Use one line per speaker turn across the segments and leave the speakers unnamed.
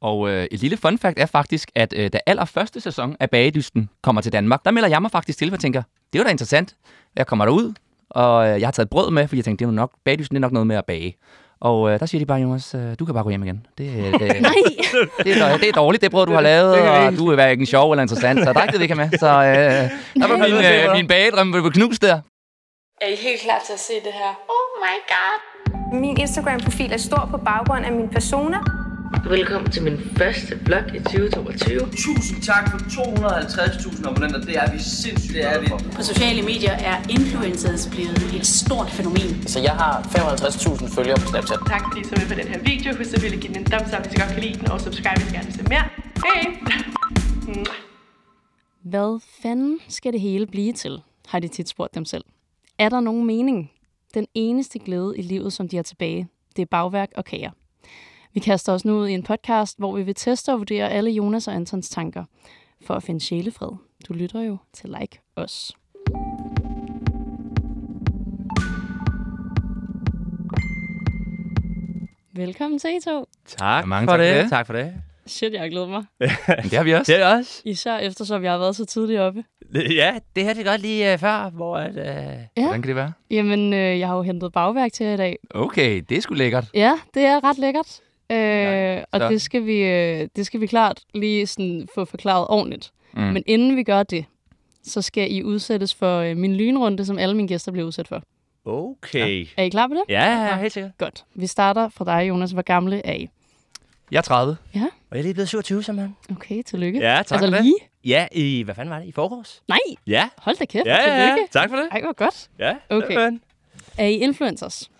Og øh, et lille fun fact er faktisk, at øh, da allerførste sæson af Bagedysten kommer til Danmark, der melder jeg mig faktisk til, for jeg tænker, det er jo da interessant. Jeg kommer derud, og øh, jeg har taget brød med, fordi jeg tænkte, det er jo nok, Bagedysten det er nok noget med at bage. Og øh, der siger de bare, Jonas, øh, du kan bare gå hjem igen. Det, øh, det,
Nej,
det, er, dår- det er dårligt, det brød, du har lavet,
det kan vi
og
ikke.
du er hverken sjov eller interessant, så der er ikke det, vi ikke have med. Så øh, der var min, øh, min bagedrøm blev knust der.
Er I helt klar til at se det her?
Oh my god.
Min Instagram-profil er stor på baggrund af min persona.
Velkommen til min første vlog i 2022.
Tusind tak for 250.000 abonnenter. Det er vi sindssygt det er vi.
På sociale medier er influencers blevet et stort fænomen.
Så jeg har 55.000 følgere på Snapchat.
Tak fordi I så med på den her video. Husk at ville give den en thumbs up, hvis I godt kan lide den, og subscribe, hvis I gerne vil se mere. Hej!
hvad fanden skal det hele blive til, har de tit spurgt dem selv. Er der nogen mening? Den eneste glæde i livet, som de har tilbage, det er bagværk og kager. Vi kaster os nu ud i en podcast, hvor vi vil teste og vurdere alle Jonas og Antons tanker for at finde sjælefred. Du lytter jo til Like Os. Velkommen til I to.
Tak
Ja, mange tak for
for det.
det.
Tak for det.
Shit, jeg glæder mig.
Men det har vi også.
Det er det også.
Især eftersom jeg har været så tidligt oppe.
Ja, det her det er godt lige uh, før, hvor at, uh,
Hvordan kan det være?
Jamen, øh, jeg har jo hentet bagværk til jer i dag.
Okay, det er sgu lækkert.
Ja, det er ret lækkert. Øh, og
så-
det skal, vi, øh, det skal vi klart lige sådan få forklaret ordentligt.
Mm.
Mm. Men inden vi gør det, så skal I udsættes for øh, min lynrunde, som alle mine gæster bliver udsat for.
Okay.
Er I klar på det?
Ja, ja, ja, helt sikkert.
Godt. Vi starter fra dig, Jonas. Hvor gamle er I?
Jeg er 30.
Og jeg er lige blevet 27, simpelthen.
Okay, tillykke.
Ja, tak for
altså
det.
lige?
Ja, i, hvad fanden var det? I forgårs?
Nej,
Ja.
hold da kæft.
Ja, ja, ja.
tillykke.
Tak for det.
Ej, hvor godt.
Ja,
Okay.
simpelthen.
Er I influencers?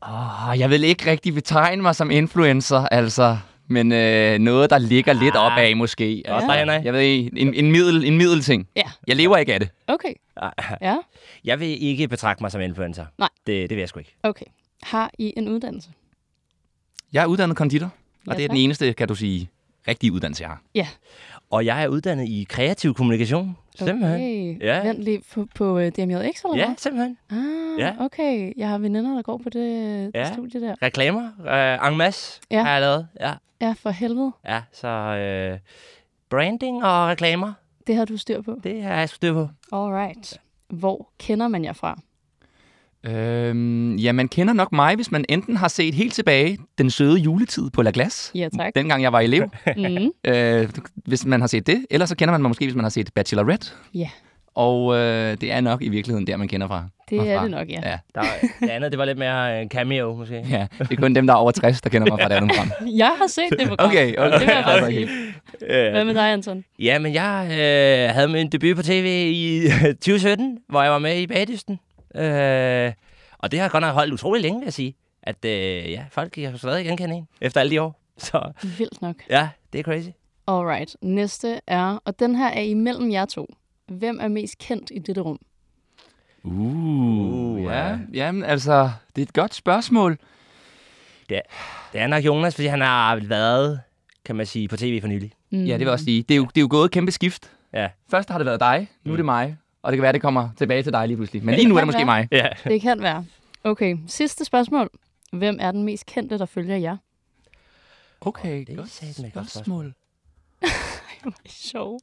Oh, jeg vil ikke rigtig betegne mig som influencer, altså. Men øh, noget, der ligger lidt op af måske. Altså,
dig, Henrik.
jeg ved ikke, en, en, middel, en middelting.
Ja.
Jeg lever ikke af det.
Okay.
Ej,
Ja,
Jeg vil ikke betragte mig som influencer.
Nej.
Det, det vil jeg sgu ikke.
okay. Har I en uddannelse?
Jeg er uddannet konditor, og
Ja,
det er den
tak.
eneste, kan du sige, rigtige uddannelse, jeg har.
Og jeg er uddannet i kreativ kommunikation. Simpelthen.
Okay.
Ja.
Vent lige på, på øh, DMJX, eller hvad?
Ja, simpelthen.
Ah,
Ja.
ja. okay. Jeg har veninder, der går på det, ja.
Ja.
det studie der.
Reklamer. Uh, en masse
Ja.
har jeg lavet. Ja,
Ja, for helvede.
ja så øh, branding og reklamer,
Det har du styr på.
det har jeg sgu styr på.
Alright. Hvor kender man jer fra?
Øhm, ja, man kender nok mig, hvis man enten har set helt tilbage den søde juletid på La Glace,
Ja, tak.
dengang jeg var elev.
Mm.
øh, hvis man har set det. Ellers så kender man mig måske, hvis man har set Bachelorette.
Ja.
Og øh, det er nok i virkeligheden der, man kender fra.
Det
mig
er
fra.
det nok, ja.
Ja.
Der, det andet, det var lidt mere en cameo, måske.
Ja, det er kun dem, der er over 60, der kender mig fra der nu frem.
Jeg har set det program.
Okay, okay.
Det vil jeg bare
Okay.
sige. Hvad med dig, Anton?
Ja, men jeg øh, havde min debut på tv i 2017, hvor jeg var med i Bagdysten. Øh, og det har godt nok holdt utrolig længe, vil jeg sige. At øh, ja, folk kan stadig genkende en efter alle de år. Så
Vildt nok.
ja, det er crazy.
Alright. Næste er, og den her er imellem jer to. Hvem er mest kendt i dette rum?
Uh, ja.
ja.
Jamen, altså, det er et godt spørgsmål.
Mm. Det er nok Jonas, fordi han har været, kan man sige, på tv for nylig.
Mm.
Ja, det vil jeg også sige. Det er jo, det er jo gået et kæmpe skift.
Ja. Mm.
Først har det været dig, nu er det mig. Og det kan være, det kommer tilbage til dig lige pludselig. Men lige nu er det måske mig.
Ja.
Det kan være. Okay, sidste spørgsmål. Hvem er den mest kendte, der følger jer?
Okay,
Det er satme et godt
Sjov.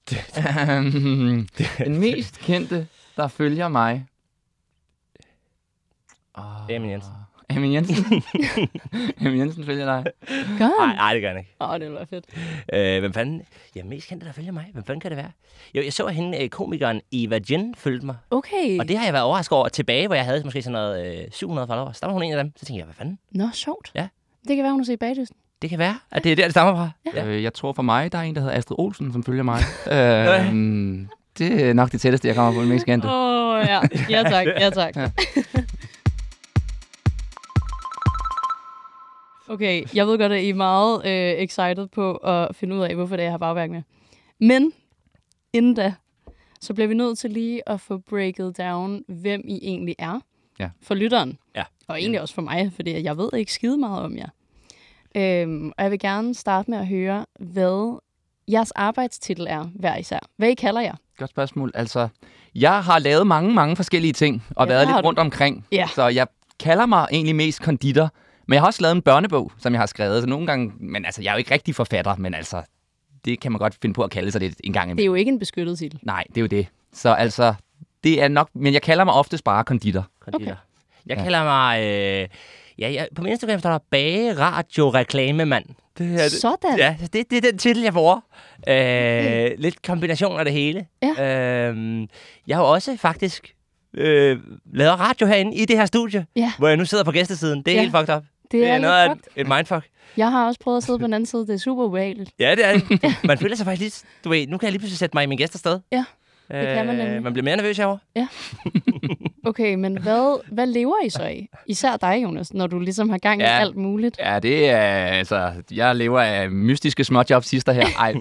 Øhm, den mest kendte, der følger mig. Oh,
Amin Jensen.
Amin Jensen. Amin Jensen følger dig.
Nej,
Godt.
nej, det gør han ikke.
Åh, det var fedt.
Øh, hvem fanden? Ja, mest kendte, der følger mig. Hvem fanden kan det være? Jo, jeg så at hende, øh, komikeren Eva Jen følte mig.
Okay.
Og det har jeg været overrasket over tilbage, hvor jeg havde måske sådan noget øh, 700 followers. Der var hun en af dem. Så tænkte jeg, hvad fanden?
Nå, sjovt.
Ja.
Det kan være, hun har set bagdysten.
Det kan være, at det er der, det stammer fra.
Ja. Øh, jeg tror for mig, der er en, der hedder Astrid Olsen, som følger mig. øhm, det er nok det tætteste, jeg kommer på den mest kendte.
Åh, oh, ja. Ja tak, ja tak. Okay, jeg ved godt, at I er meget øh, excited på at finde ud af, hvorfor det er, jeg har bagværk med. Men inden da, så bliver vi nødt til lige at få breaket down, hvem I egentlig er.
Ja.
For lytteren.
Ja.
Og egentlig også for mig, fordi jeg ved ikke skide meget om jer. Øhm, og jeg vil gerne starte med at høre, hvad jeres arbejdstitel er hver især. Hvad I kalder jer.
Godt spørgsmål. Altså, jeg har lavet mange, mange forskellige ting, og
Ja,
været
det har
lidt
du.
rundt omkring.
Ja.
Så jeg kalder mig egentlig mest konditor, Men jeg har også lavet en børnebog, som jeg har skrevet. Så nogle gange, men altså, jeg er jo ikke rigtig forfatter, men altså, det kan man godt finde på at kalde sig lidt en gang imellem.
Det er jo ikke en beskyttet titel.
Nej, det er jo det. Så altså, det er nok... Men jeg kalder mig oftest bare konditor.
konditor. Jeg kalder mig... Øh, ja, jeg, på min Instagram står der bageradioreklamemand. Det er det.
Sådan.
Ja, det, det er den titel, jeg får. Øh, lidt kombination af det hele.
Ja.
Øh, jeg har jo også faktisk øh, lavet radio herinde i det her studie,
Ja.
hvor jeg nu sidder på gæstesiden. Det er
Ja.
ja. helt fucked up.
Det er,
noget af
lidt
et,
fucked.
et mindfuck.
Jeg har også prøvet at sidde på den anden side. Det er super ubehageligt.
Ja, det er det. Man føler sig faktisk lidt... Du ved, nu kan jeg lige pludselig sætte mig i min gæster sted.
Ja, det kan man nemlig.
Man bliver mere nervøs herovre.
Okay, men hvad, hvad lever I så af? Især dig, Jonas, når du ligesom har gang i
Ja.
alt muligt.
Ja, det er... Altså, jeg lever af mystiske småjobs sidster her. Ej.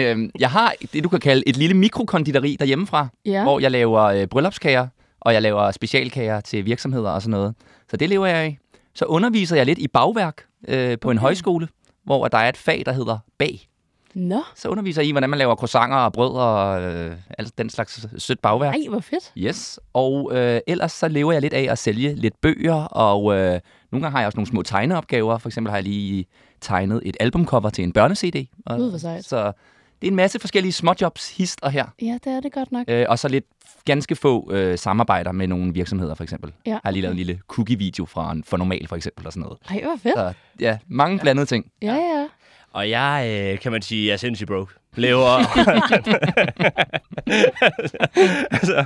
øhm, jeg har det, du kan kalde et lille mikrokonditori derhjemmefra,
Ja.
hvor jeg laver øh, bryllupskager, og jeg laver specialkager til virksomheder og sådan noget. Så det lever jeg af. Så underviser jeg lidt i bagværk øh, på okay. en højskole, hvor der er et fag, der hedder bag.
Nå,
Så underviser jeg i, hvordan man laver croissanter og brød og øh, alt den slags sødt bagværk.
ej, hvor fedt.
Yes, og øh, ellers så lever jeg lidt af at sælge lidt bøger, og øh, nogle gange har jeg også nogle små tegneopgaver. For eksempel har jeg lige tegnet et albumcover til en børne-CD. Og,
Gud, hvor sejt.
Så det er en masse forskellige småjobs, hist og her.
Ja, det er det godt nok.
Øh, og så lidt ganske få øh, samarbejder med nogle virksomheder, for eksempel.
Ja,
Jeg har lige lavet en
okay.
lille cookie-video fra en for normal, for eksempel, og sådan noget.
Ej, hvor fedt.
Så ja, mange blandede ting.
Ja, ja.
Og jeg, øh, kan man sige, er sindssygt broke. Lever... altså,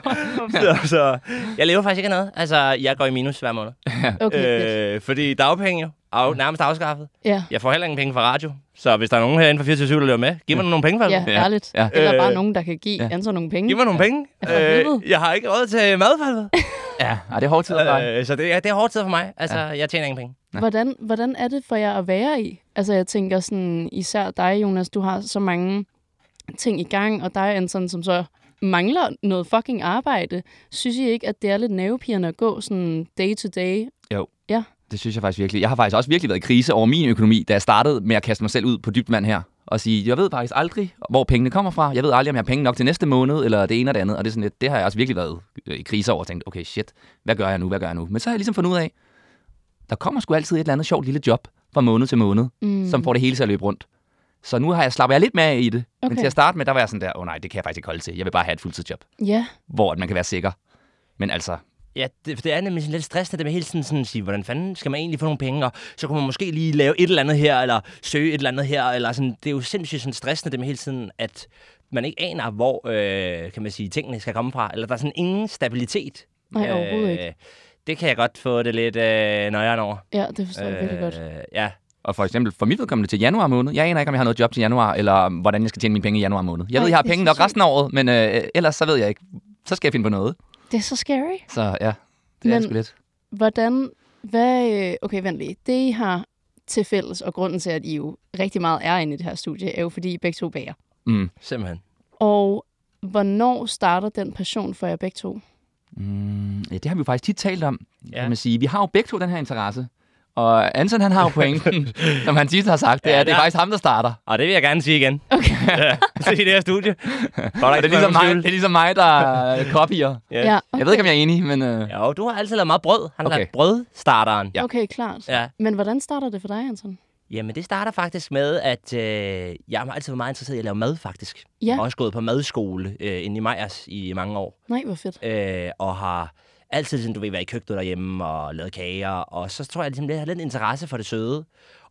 så, så, jeg lever faktisk ikke af noget. Altså, jeg går i minus hver måned.
Okay, fedt.
Øh, fordi dagpenge jo
Mm.
af, nærmest afskaffet.
Ja,
Jeg får heller ingen penge fra radio. Så hvis der er nogen herinde fra 24 der løber med, giv mig nu nogle penge for
Mm. ja,
det.
ærligt.
ja.
Eller bare
Øh,
nogen, der kan give
ja.
Anton nogle penge.
Giv mig nogle penge. Øh,
Ja, for helvede.
jeg har ikke råd til mad, for helvede.
Ja, og det er hårdt tid at øh,
Øh, så det, er, det er hårdt tid for mig. Altså, jeg tjener ingen penge.
Hvordan, hvordan er det for jer at være i? Altså, jeg tænker sådan, især dig, Jonas, du har så mange ting i gang, og dig, Anton, som så mangler noget fucking arbejde. Synes I ikke, at det er lidt nervepirrende at gå sådan day to day?
Det synes jeg faktisk virkelig. Jeg har faktisk også virkelig været i krise over min økonomi, da jeg startede med at kaste mig selv ud på dybt vand her. Og sige, jeg ved faktisk aldrig, hvor pengene kommer fra. Jeg ved aldrig, om jeg har penge nok til næste måned, eller det ene og det andet. Og det, er sådan lidt, det har jeg også virkelig været øh, i krise over og tænkt, okay shit, hvad gør jeg nu, hvad gør jeg nu? Men så har jeg ligesom fundet ud af, der kommer sgu altid et eller andet sjovt lille job fra måned til måned, mm. som får det hele til at løbe rundt. Så nu har jeg slappet jeg lidt mere af i det. Okay. Men
Okay.
til at starte med, der var jeg sådan der, åh oh, nej, det kan jeg faktisk ikke holde til. Jeg vil bare have et fuldtidsjob,
Ja,
hvor at man kan være sikker. Men altså,
Ja, det, for det er nemlig sådan lidt stressende, det med hele tiden sådan at sige, hvordan fanden skal man egentlig få nogle penge, og så kunne man måske lige lave et eller andet her, eller søge et eller andet her, eller sådan, det er jo sindssygt sådan stressende, det med hele tiden, at man ikke aner, hvor, øh, kan man sige, tingene skal komme fra, eller der er sådan ingen stabilitet. Øh,
Nej, overhovedet ikke.
Det kan jeg godt få det lidt øh, nøjeren over. Øh,
ja det forstår jeg virkelig godt.
Ja,
Og for eksempel for mit vedkommende til januar måned. Jeg aner ikke, om jeg har noget job til januar, eller hvordan jeg skal tjene mine penge i januar måned. Jeg ved,
Ej,
jeg har
det er
penge
så
nok resten af året, men øh, ellers så ved jeg ikke. Så skal jeg finde på noget.
Det er så scary.
Så ja, det er
Men-
sgu lidt.
Hvordan, hvad, øh, okay, vent lige. Det, I har til fælles, og grunden til, at I jo rigtig meget er inde i det her studie, er jo, fordi I begge to bager.
Mm.
simpelthen.
Og hvornår starter den passion for jer begge to?
Mm, ja, det har vi jo faktisk tit talt om, ja.
Ja.
kan man sige. Vi har jo begge to den her interesse. Og Anton, han har jo pointen, som han tit har sagt, det er,
Ja,
ja, det er
der-
faktisk ham, der starter.
Og det vil jeg gerne sige igen. Okay. Ja, se i det her studie. Godt,
Det er ligesom mig, det er ligesom mig der øh, copier.
Ja.
okay.
Jeg ved ikke, om jeg er enig, men øh,
Jo, du har altid lavet meget brød. Han har
Okay.
okay. lavet brødstarteren.
Ja. Okay, klart.
Ja.
Men hvordan starter det for dig, Anton?
Jamen, det starter faktisk med, at øh, jeg har altid været meget interesseret i at lave mad, faktisk.
Ja.
Jeg har også gået på madskole øh, inde i Majers i mange år,
Nej, hvor fedt.
øh, og har altid, sådan, du ved, været i køkkenet derhjemme og lavet kager, og så tror jeg, ligesom, jeg har lidt interesse for det søde.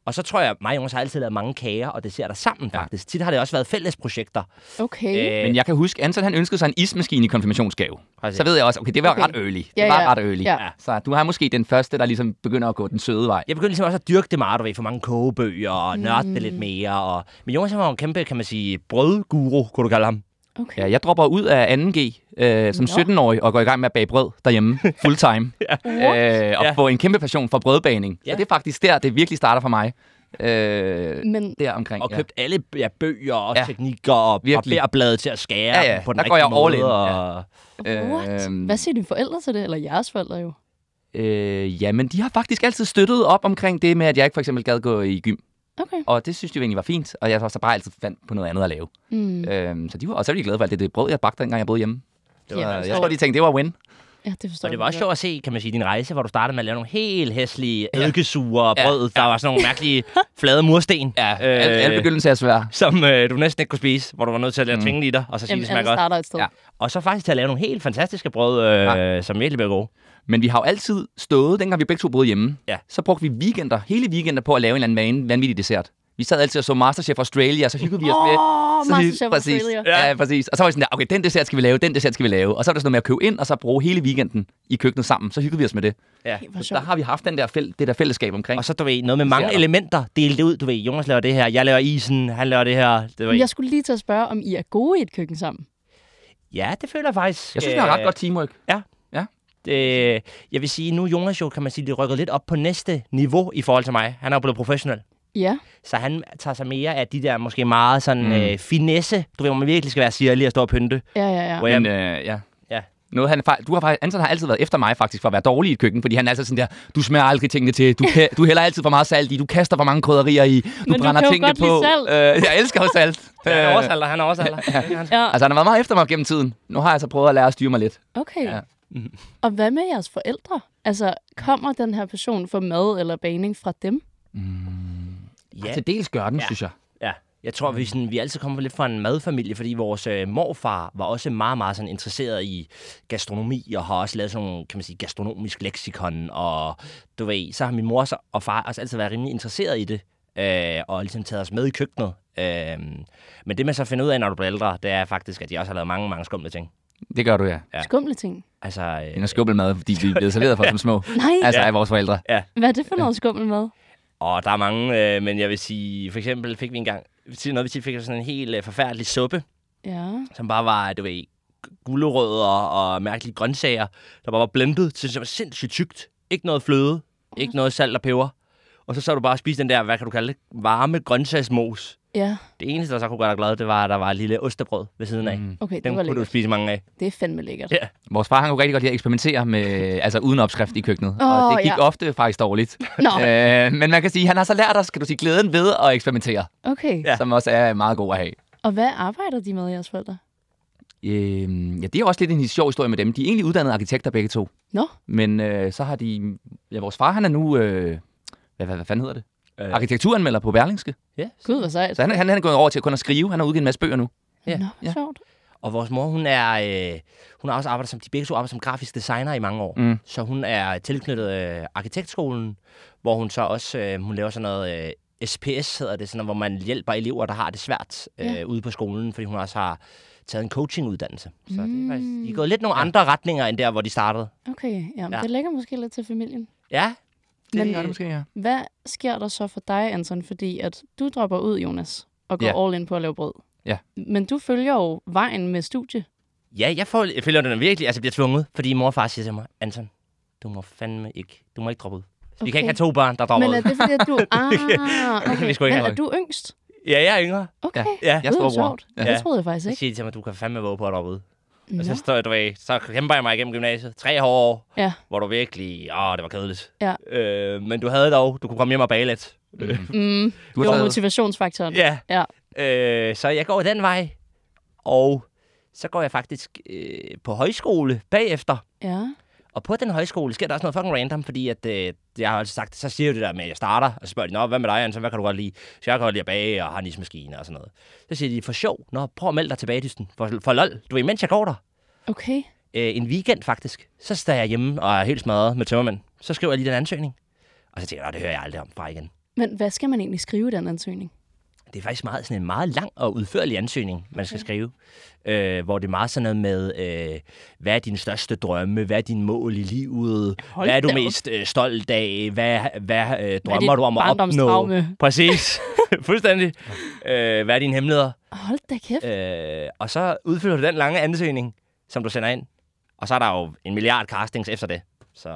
Og så tror jeg, at mig og Jonas har altid lavet mange kager og desserter sammen,
Ja.
faktisk. Tit har det også været fælles projekter.
Okay. Øh,
Øh,
men jeg kan huske, Anton han ønskede sig en ismaskine i konfirmationsgave.
Præcis.
Så ved jeg også, okay, det var
Okay.
okay. ret early. Det
Ja,
var
ja.
ret early.
Ja.
Så du har måske den første, der ligesom begynder at gå den søde vej.
Jeg begyndte ligesom også at dyrke det meget, du ved, for mange kogebøger og nørde det lidt mere. Og... Men Jonas han var jo en kæmpe, kan man sige, brødguru, kunne du kalde ham.
okay.
Ja, jeg dropper ud af 2G øh, som
Nå.
17-årig og går i gang med at bage brød derhjemme full time. ja. øh, og
Ja.
får en kæmpe passion for brødbaning. Ja.
Ja.
Så det er faktisk der, det virkelig starter for mig. Øh,
Men
der omkring.
og købt ja. alle ja, bøger og
Ja.
ja. teknikker og
Virkelig.
barberblade til at skære
Ja, ja.
dem på den
Der
rigtige
går jeg all
måde.
in, ja.
Og...
what?
Øhm.
Hvad siger dine forældre til det? Eller jeres forældre jo?
Ja. Øh, ja, men de har faktisk altid støttet op omkring det med, at jeg ikke for eksempel gad gå i gym.
Okay.
Og det synes de jo egentlig var fint, og jeg så bare altid fandt på noget andet at lave.
Mm.
Øhm, så de var, og så var de glade for alt det, det brød, jeg bagte, dengang jeg boede hjemme. Det var,
Jamen,
jeg
så-
tror, de tænkte, det var win.
Ja, det forstår
Og det
jeg
var også
godt.
sjovt at se, kan man sige, din rejse, hvor du startede med at lave nogle helt hæslige eddikesuger og brød. Der var sådan nogle mærkelige flade mursten.
Ja, øh, alle, alle Mm. begyndelser er svære.
som øh, du næsten ikke kunne spise, hvor du var nødt til at lade tvinge i dig, og så sige,
Jamen, altså,
det
alle
smager godt.
starter et sted.
Ja.
Ja.
Og så faktisk til at lave nogle helt fantastiske brød, øh, som virkelig blev gode.
Men vi har jo altid stået, dengang vi begge to boede hjemme,
Ja.
så brugte vi weekender, hele weekender på at lave en eller anden van- vanvittig dessert. Vi sad altid og så Masterchef Australia, og så hyggede vi os med.
Åh,
så hy-
Masterchef
præcis.
Australia.
Ja. ja, præcis. Og så var vi sådan der, okay, den dessert skal vi lave, den dessert skal vi lave. Og så var der sådan noget med at købe ind, og så bruge hele weekenden i køkkenet sammen. Så hyggede vi os med det.
Ja.
Hvor
Så der
sjovt.
har vi haft den der fæl- det der fællesskab omkring.
Og så, du ved, noget med mange
Ser dig.
elementer delt ud. Du ved, Jonas laver det her, jeg laver isen, han laver det her. Det var
Jeg skulle lige til at spørge, om I er gode i et køkken sammen.
Ja, det føler jeg faktisk.
jeg synes, vi har
øh,
ret godt teamwork.
Øh, jeg vil sige, nu er Jonas jo, kan man sige, det rykker lidt op på næste niveau i forhold til mig. Han er jo blevet professionel.
Ja,
Så han tager sig mere af de der måske meget sådan
Mm.
mm. øh, finesse. Du ved, hvor man virkelig skal være sirlig og stå og pynte.
ja, ja. ja.
Hvor jeg,
Men øh, ja.
Ja.
Noget, han, er fej- du har, fej- Anton har altid været efter mig faktisk for at være dårlig i et køkken, fordi han er altid sådan der, du smager aldrig tingene til, du, kan, du hælder altid for meget salt i, du kaster for mange krydderier i, du
Men du
brænder
kan jo
tingene
godt
på.
lide salt.
Øh, jeg elsker jo salt.
han er
Øh,
oversalder, han er oversalder.
ja.
Altså, han har været meget efter mig gennem tiden. Nu har jeg så prøvet at lære at styre mig lidt.
Okay.
Ja.
Ja. Og hvad med jeres forældre? Altså, kommer den her passion for mad eller bagning fra dem?
Ja.
Til dels gør den, ja.
Ja.
synes jeg.
Ja, jeg tror, vi, sådan, vi altid kommer lidt fra en madfamilie, fordi vores øh, morfar var også meget, meget sådan interesseret i gastronomi, og har også lavet sådan nogle, kan man sige, gastronomisk leksikon, og du ved, så har min mor så, og far også altid været rimelig interesseret i det, øh, og ligesom taget os med i køkkenet. Øh, men det, man så finder ud af, når du bliver ældre, det er faktisk, at de også har lavet mange, mange skumle ting.
Det gør du, ja.
Ja.
Ja. Skumle ting.
Altså, øh,
End at skubbe mad, fordi vi er blevet serveret for som små.
Nej,
Altså,
altså.
af vores forældre.
hvad er det for noget skummel mad?
Og der er mange, øh, men jeg vil sige, for eksempel fik vi engang, noget vi tit fik sådan en helt øh, forfærdelig suppe,
Ja.
som bare var, du ved, gulerødder og mærkelige grøntsager, der bare var blendet, så det var sindssygt tykt. Ikke noget fløde, ikke noget salt og peber. Og så så du bare og spiste den der, hvad kan du kalde det, varme grøntsagsmos.
Ja,
Det eneste, der så kunne gøre dig glad, det var, at der var et lille ostebrød ved siden af. Mm.
okay, det
Den
var
kunne du
lækkert.
spise mange af.
Det er fandme lækkert.
Ja.
Vores far, han kunne rigtig godt lide at eksperimentere med, altså uden opskrift i køkkenet.
Åh,
og det gik
ja.
ofte faktisk dårligt.
Nå,
Øh, men man kan sige, han har så lært os, kan du sige, glæden ved at eksperimentere,
okay. Ja.
ja. som også er meget god at have.
Og hvad arbejder de med, jeres forældre?
Øh, ja, det er også lidt en sjov historie med dem. De er egentlig uddannede arkitekter begge to.
Nå,
Men øh, så har de... Ja, vores far, han er nu... Øh, hvad, hvad, hvad fanden hedder det?
Øh.
Arkitekturanmelder på Berlingske.
Ja.
gud, hvor sejt.
Så Altså, han, han, han er gået over til kun at skrive. Han har udgivet en masse bøger nu.
Ja.
Nå, hvor
Ja.
sjovt.
Og vores mor, hun er, øh, hun har også arbejdet som, de begge to arbejder som grafisk designer i mange år.
Mm.
Så hun er tilknyttet øh, arkitektskolen, hvor hun så også, øh, hun laver sådan noget, øh, SPS hedder det, sådan noget, hvor man hjælper elever, der har det svært øh,
Ja.
ude på skolen, fordi hun også har taget en coachinguddannelse. Så det er faktisk, de er gået lidt nogle andre retninger, end der, hvor de startede.
Okay, jamen,
Ja.
ja. det ligger måske lidt til familien.
Ja,
Det
Men-
gør det måske, ja.
Hvad sker der så for dig, Anton? Fordi at du dropper ud, Jonas, og går
Ja.
all in på at lave brød.
Ja.
Men du følger jo vejen med studie.
ja jeg, får, jeg føler den virkelig, altså jeg bliver tvunget, fordi mor og far siger til mig, Anton, du må fandme ikke, du må ikke droppe ud. Okay. Vi kan
Okay.
ikke have to børn, der dropper
Men er
ud.
det fordi, at du... Ah,
kan vi
okay.
sgu ikke
Men
have.
er du yngst?
Ja, jeg er yngre.
Okay.
Ja, jeg
er
Gud, hvor
storebror.
sjovt.
Ja.
Det troede jeg faktisk
Så
ikke.
siger de til mig, du kan fandme våge på at droppe ud.
Nå.
Og så, står, du ved, så kæmper jeg mig igennem gymnasiet. Tre hårde år,
Ja.
hvor du virkelig... Åh, det var kedeligt.
Ja.
Øh, men du havde dog... Du kunne komme hjem og bage lidt.
Mm,
Du
det
har
var
taget,
motivationsfaktoren.
Ja.
Ja.
Øh, så jeg går den vej. Og så går jeg faktisk øh, på højskole bagefter.
ja.
Og på den højskole sker der også noget fucking random, fordi at, øh, jeg har altid sagt, så siger jeg jo det der med, at jeg starter, og så spørger de, Nå, hvad med dig, Anton, hvad kan du godt lide? Så jeg kan godt lide at bage og har en ismaskine og sådan noget. Så siger de, for sjov, Nå, prøv at melde dig tilbage, dysten, for, for lol, du ved, mens jeg går der.
Okay.
øh, en weekend faktisk, så står jeg hjemme og er helt smadret med tømmermænd. Så skriver jeg lige den ansøgning. Og så tænker jeg, "Nå, det hører jeg aldrig om fra igen.
Men hvad skal man egentlig skrive i den ansøgning?
Det er faktisk meget, sådan en meget lang og udførlig ansøgning, man skal skrive. Øh, hvor det er meget sådan noget med, øh, hvad er dine største drømme? Hvad er dine mål i livet?
Hold
hvad er du
da op.
mest øh, stolt af? Hvad, hvad øh, drømmer
dit
du om at opnå?
barndomstraume?
Præcis. Fuldstændig. Øh, hvad er dine hemmeligheder?
Hold da kæft.
Øh, og så udfylder du den lange ansøgning, som du sender ind. Og så er der jo en milliard castings efter det. Så øh,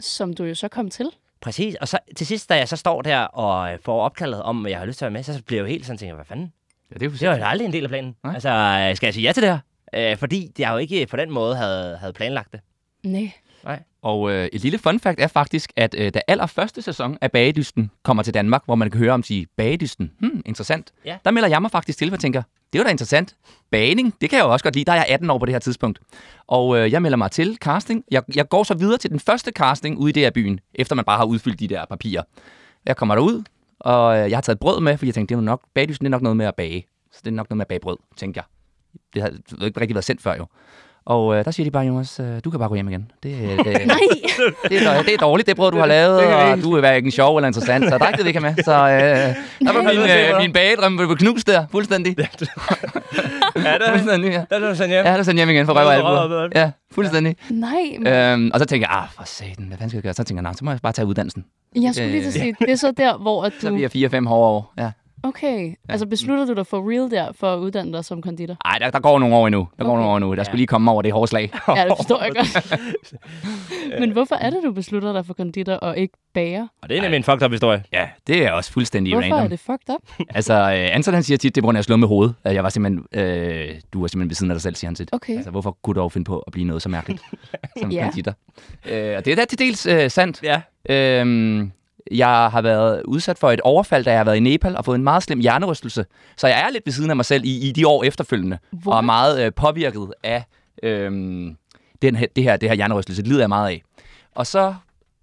Som du jo så kom til.
præcis. Og så til sidst, da jeg så står der og øh, får opkaldet om, at jeg har lyst til at være med, så bliver jeg jo helt sådan tænker, hvad fanden?
ja, det er jo
Det var
sikkert.
jo aldrig en del af planen.
Nej.
øh, Altså, øh, skal jeg sige ja til det her? Øh, fordi jeg jo ikke på den måde havde, havde planlagt det.
Nej.
Nej.
Og øh, et lille fun fact er faktisk, at øh, da allerførste sæson af Bagedysten kommer til Danmark, hvor man kan høre om sige, Bagedysten, hmm, interessant.
Ja.
Der melder jeg mig faktisk til, for jeg tænker, det er jo da interessant. Baning, det kan jeg jo også godt lide. Der er jeg 18 år på det her tidspunkt. Og øh, jeg melder mig til casting. Jeg, jeg går så videre til den første casting ude i det her byen, efter man bare har udfyldt de der papirer. Jeg kommer derud, og øh, jeg har taget brød med, fordi jeg tænkte, det er jo nok, bagdysten det er nok noget med at bage. Så det er nok noget med at bage brød, tænkte jeg. Det har det har ikke rigtig været sendt før jo. Og øh, der siger de bare, Jonas, øh, du kan bare gå hjem igen. Det, øh, det, det, er, dårligt- det er dårligt, det brød, du har lavet, og du er hverken sjov eller interessant, så der er ikke det, vi kan med. Så øh, der var min, øh, min bagedrøm blev knust der, fuldstændig.
Ja, der,
fuldstændig ja.
der er du sådan hjem.
ja, der sendte jeg hjem igen for
Ja,
røv og
for røv og
albuer.
albuer.
Ja, fuldstændig.
Nej, men
Øhm, og så tænkte jeg, ah, for satan, hvad fanden skal jeg gøre? Så tænker jeg, nej, så må jeg bare tage uddannelsen.
jeg skulle lige til at sige, det er så der, hvor at
Så
Mm.
du...
bliver jeg 4-5 hårde år. Ja.
Okay, altså beslutter du dig for real der, for at uddanne dig som konditor?
Ej, der, der går nogle år endnu. Der går
Okay.
nogle år endnu. Der skulle lige komme over det hårde slag.
Ja, det forstår jeg godt. Men hvorfor er det, du beslutter dig for konditor og ikke bager?
Og det er nemlig en fucked up historie.
Ja, det er også fuldstændig
Hvorfor er
random.
det fucked up?
Altså, øh, Anton han siger tit, det er på grund af, at jeg slog med hovedet. At jeg var simpelthen, øh, du var simpelthen ved siden af dig selv, siger han tit.
Okay.
Altså, hvorfor kunne du dog finde på at blive noget så mærkeligt som
Ja.
ja. konditor? Øh, og det er da til dels øh, sandt.
Ja.
Øhm, jeg har været udsat for et overfald, da jeg har været i Nepal og fået en meget slem hjernerystelse. Så jeg er lidt ved siden af mig selv i, i de år efterfølgende. Og er
What?
meget øh, påvirket af øhm, den her, det, her, det her hjernerystelse. Det lider jeg meget af. Og så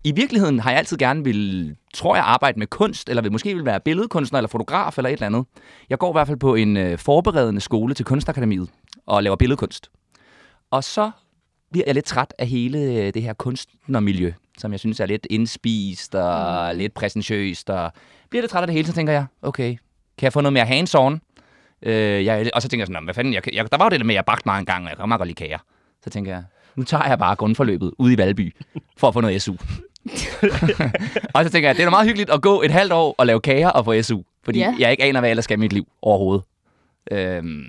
i virkeligheden har jeg altid gerne vil, tror jeg, arbejde med kunst, eller vil, måske vil være billedkunstner eller fotograf eller et eller andet. Jeg går i hvert fald på en øh, forberedende skole til Kunstakademiet og laver billedkunst. Og så bliver jeg lidt træt af hele øh, det her kunstnermiljø, som jeg synes er lidt indspist og mm. lidt præsentøst. Og bliver lidt træt af det hele, så tænker jeg, okay, kan jeg få noget mere hands-on? Øh, jeg, og så tænker jeg sådan, "Nå, men hvad fanden, jeg, kan- jeg, der var jo det der med, at jeg bagte meget en gang, og jeg kan meget godt lide kager. Så tænker jeg, nu tager jeg bare grundforløbet ude i Valby for at få noget SU. og så tænker jeg, det er da meget hyggeligt at gå et halvt år og lave kager og få SU, fordi
Ja.
ja. jeg ikke aner, hvad jeg ellers skal i mit liv overhovedet. Øhm,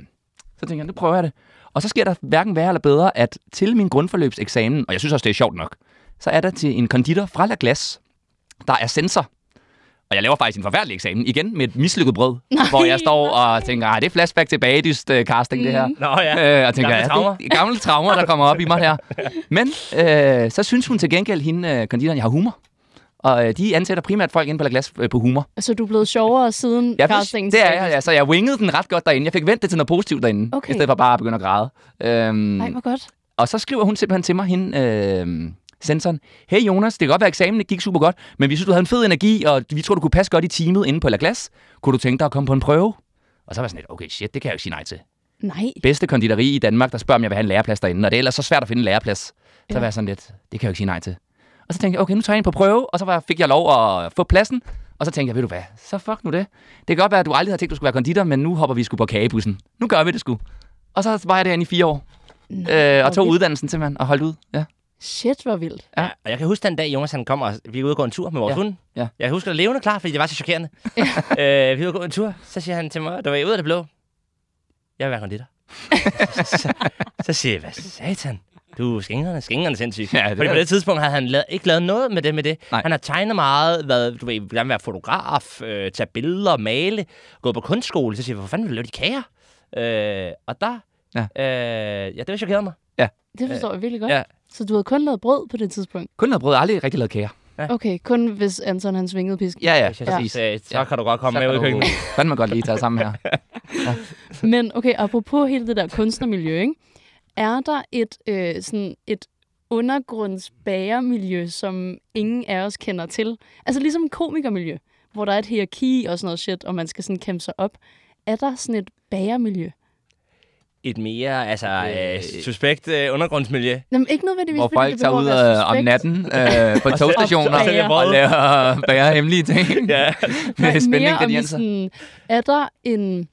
så tænker jeg, nu prøver jeg det. Og så sker der hverken værre eller bedre, at til min grundforløbseksamen, og jeg synes også, det er sjovt nok, så er der til en konditor fra La Glace, der er sensor. Og jeg laver faktisk en forfærdelig eksamen, igen med et mislykket brød, nej, hvor jeg står og tænker, ah, det er flashback til bagdyst øh, casting, mm. det her.
Nå ja.
Øh, og tænker,
Gamle
ja, det er
traumer.
gamle traumer, der kommer op i mig her. Men øh, så synes hun til gengæld, hende øh, konditoren, jeg har humor. Og øh, de ansætter primært folk ind på La Glace øh, på humor.
Så Altså, du er blevet sjovere siden
Jeg
castingen?
vidste, det er jeg, ja, så jeg wingede den ret godt derinde. Jeg fik vendt det til noget positivt derinde,
Okay.
i stedet for bare at begynde at græde. Øhm,
Nej, hvor godt.
og så skriver hun simpelthen til mig, hende, øh, sensoren, Hey Jonas, det kan godt være, at eksamen gik super godt, men vi synes, du havde en fed energi, og vi tror, du kunne passe godt i teamet inde på La Glace. Kunne du tænke dig at komme på en prøve? Og så var jeg sådan lidt, okay, shit, det kan jeg jo ikke sige nej til.
Nej,
Bedste konditori i Danmark, der spørger, om jeg vil have en læreplads derinde, og det er ellers så svært at finde en læreplads. Så
Ja.
var jeg sådan lidt, det kan jeg jo ikke sige nej til. Og så tænkte jeg, okay, nu tager jeg ind på prøve, og så var, fik jeg lov at få pladsen, og så tænkte jeg, ved du hvad, så fuck nu det. Det kan godt være, at du aldrig havde tænkt, du skulle være konditor, men nu hopper vi sgu på kagebussen. Nu gør vi det sgu. Og så var jeg derinde i fire år øh, og tog
vildt.
uddannelsen simpelthen og holdt ud. Ja.
shit, hvor vildt.
Ja, og jeg kan huske den dag, Jonas han kom, og vi var ude og gå en tur med vores
Ja,
hund.
ja.
Jeg kan huske det levende klart, fordi det var så chokerende. øh, vi var ude og gå en tur, så siger han til mig, der var jeg ude af det blå. Jeg vil være konditor. så, så, så siger jeg, hvad satan? Du er skængerne, skængerne sindssygt.
Ja, det
fordi
er
på det tidspunkt havde han lavet, ikke lavet noget med det med det.
Nej.
Han har tegnet meget, været, du ved, gerne være fotograf, øh, tage billeder, male, gået på kunstskole. Så siger jeg, hvor fanden vil du lave de kager? Øh, og der,
Ja.
øh, ja, det var chokerede mig.
Det forstår jeg virkelig godt.
ja.
Så du havde kun lavet brød på det tidspunkt?
Kun noget brød, aldrig rigtig lavet kager.
Okay, kun hvis Anton han svingede pisken.
Ja, ja,
Ja,
præcis.
så, så kan du godt komme
Så
med ud i
kan du
køkkenet.
Fandme godt lige tage sammen her.
Men okay, apropos hele det der kunstnermiljø, ikke? er der et, øh, sådan et undergrundsbagermiljø, som ingen af os kender til? Altså ligesom komikermiljø, hvor der er et hierarki og sådan noget shit, og man skal sådan kæmpe sig op. Er der sådan et bagermiljø?
et mere altså, øh,
Øh,
suspekt øh, undergrundsmiljø.
Jamen, ikke nødvendigvis,
Hvor
fordi
folk
det
tager
behøver
ud
at være
øh, om
suspekt.
natten øh, på togstationer
og sælger
og
brød.
laver bærer hemmelige ting.
Ja.
Nej,
Med spændende
mere om i
ingredienser.
sådan, er der en...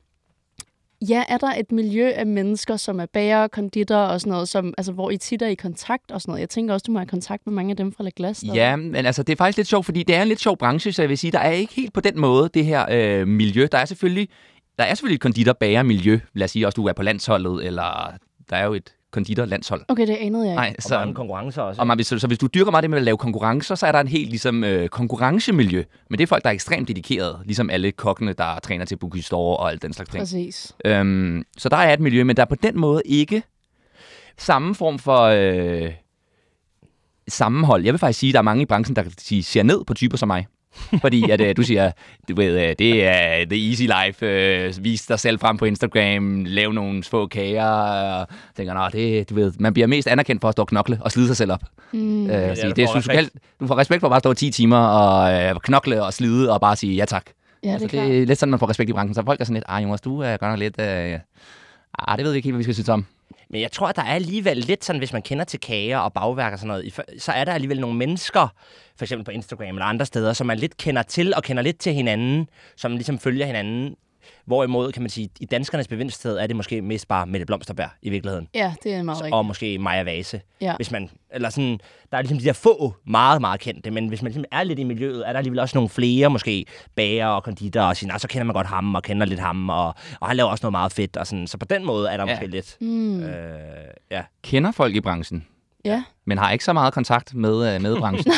Ja, er der et miljø af mennesker, som er bager, konditorer og sådan noget, som, altså, hvor I tit er i kontakt og sådan noget? Jeg tænker også, du må have kontakt med mange af dem fra La Glace. der-
Ja, men altså, det er faktisk lidt sjovt, fordi det er en lidt sjov branche, så jeg vil sige, der er ikke helt på den måde det her øh, miljø. Der er selvfølgelig, der er selvfølgelig et konditor-bager-miljø. Lad os sige også, du er på landsholdet, eller der er jo et konditor-landshold.
Okay, det anede jeg ikke.
Nej,
Så mange konkurrencer også.
Og man, så, så hvis du dyrker meget det med at lave konkurrencer, så er der en helt ligesom, øh, konkurrencemiljø. Men det er folk, der er ekstremt dedikerede, ligesom alle kokkene, der træner til Boogie Store og alt den slags ting.
Præcis.
Øhm, så der er et miljø, men der er på den måde ikke samme form for øh, sammenhold. Jeg vil faktisk sige, at der er mange i branchen, der kan sige, ser ned på typer som mig. Fordi at, øh, du siger, du ved, øh, det er the easy life, øh, vis dig selv frem på Instagram, lav nogle få kager, og tænker, Nå, det, du ved, man bliver mest anerkendt for at stå og knokle og slide sig selv op. Mm. Øh, ja,
du
sige,
får
det, du,
respekt.
du, du får respekt for at bare stå 10 timer og øh, knokle og slide og bare sige ja tak.
Ja,
altså,
det er
det, er lidt sådan, man får respekt i branchen. Så folk er sådan lidt, ah Jonas, du er godt nok lidt... Øh, ah, det ved vi ikke helt, hvad vi skal synes om.
Men jeg tror, at der er alligevel lidt sådan, hvis man kender til kager og bagværk og sådan noget, i fø- så er der alligevel nogle mennesker, for eksempel på Instagram eller andre steder, som man lidt kender til og kender lidt til hinanden, som ligesom følger hinanden. Hvorimod, kan man sige, i danskernes bevidsthed er det måske mest bare Mette Blomsterberg i virkeligheden.
Ja, det er meget
Så,
rigtigt.
og måske Maja Vase.
Ja.
Hvis man, eller sådan, der er ligesom de der få meget, meget kendte, men hvis man ligesom er lidt i miljøet, er der alligevel også nogle flere måske bager og konditorer, og siger, "Nå, så kender man godt ham og kender lidt ham, og, og han laver også noget meget fedt. Og sådan. Så på den måde er der
Ja.
ja. måske lidt...
Mm.
Øh, ja.
Kender folk i branchen,
Ja.
men har ikke så meget kontakt med, øh, med branchen.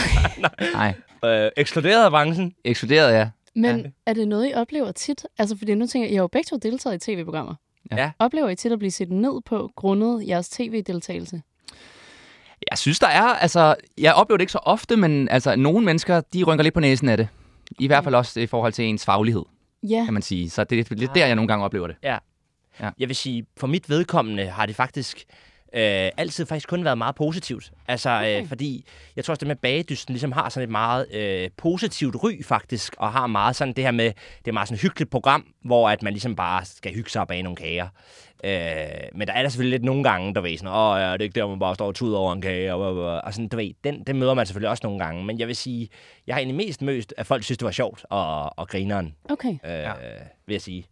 Nej.
øh, ekskluderet af branchen.
Ekskluderet, ja.
Men er det noget, I oplever tit? Altså, fordi nu tænker jeg, I har jo begge to deltaget i tv-programmer.
Ja.
Oplever I tit at blive set ned på grundet jeres tv-deltagelse?
Jeg synes, der er, altså, jeg oplever det ikke så ofte, men altså, nogle mennesker, de rynker lidt på næsen af det. I hvert fald også i forhold til ens faglighed,
Ja.
kan man sige. Så det er lidt der, jeg nogle gange oplever det.
Jeg vil sige, for mit vedkommende har det faktisk øh, altid faktisk kun været meget positivt. Altså, okay. øh, fordi jeg tror også, det med bagedysten ligesom har sådan et meget øh, positivt ry faktisk, og har meget sådan det her med, det er meget sådan et hyggeligt program, hvor at man ligesom bare skal hygge sig og bage nogle kager. Øh, men der er der selvfølgelig lidt nogle gange, der ved sådan, åh ja, det er ikke der, hvor man bare står og tuder over en kage, og, og, og, og sådan, du ved, den, den møder man selvfølgelig også nogle gange. Men jeg vil sige, jeg har egentlig mest mødt, at folk synes, det var sjovt og, og grineren,
Okay.
øh, ja. vil jeg sige.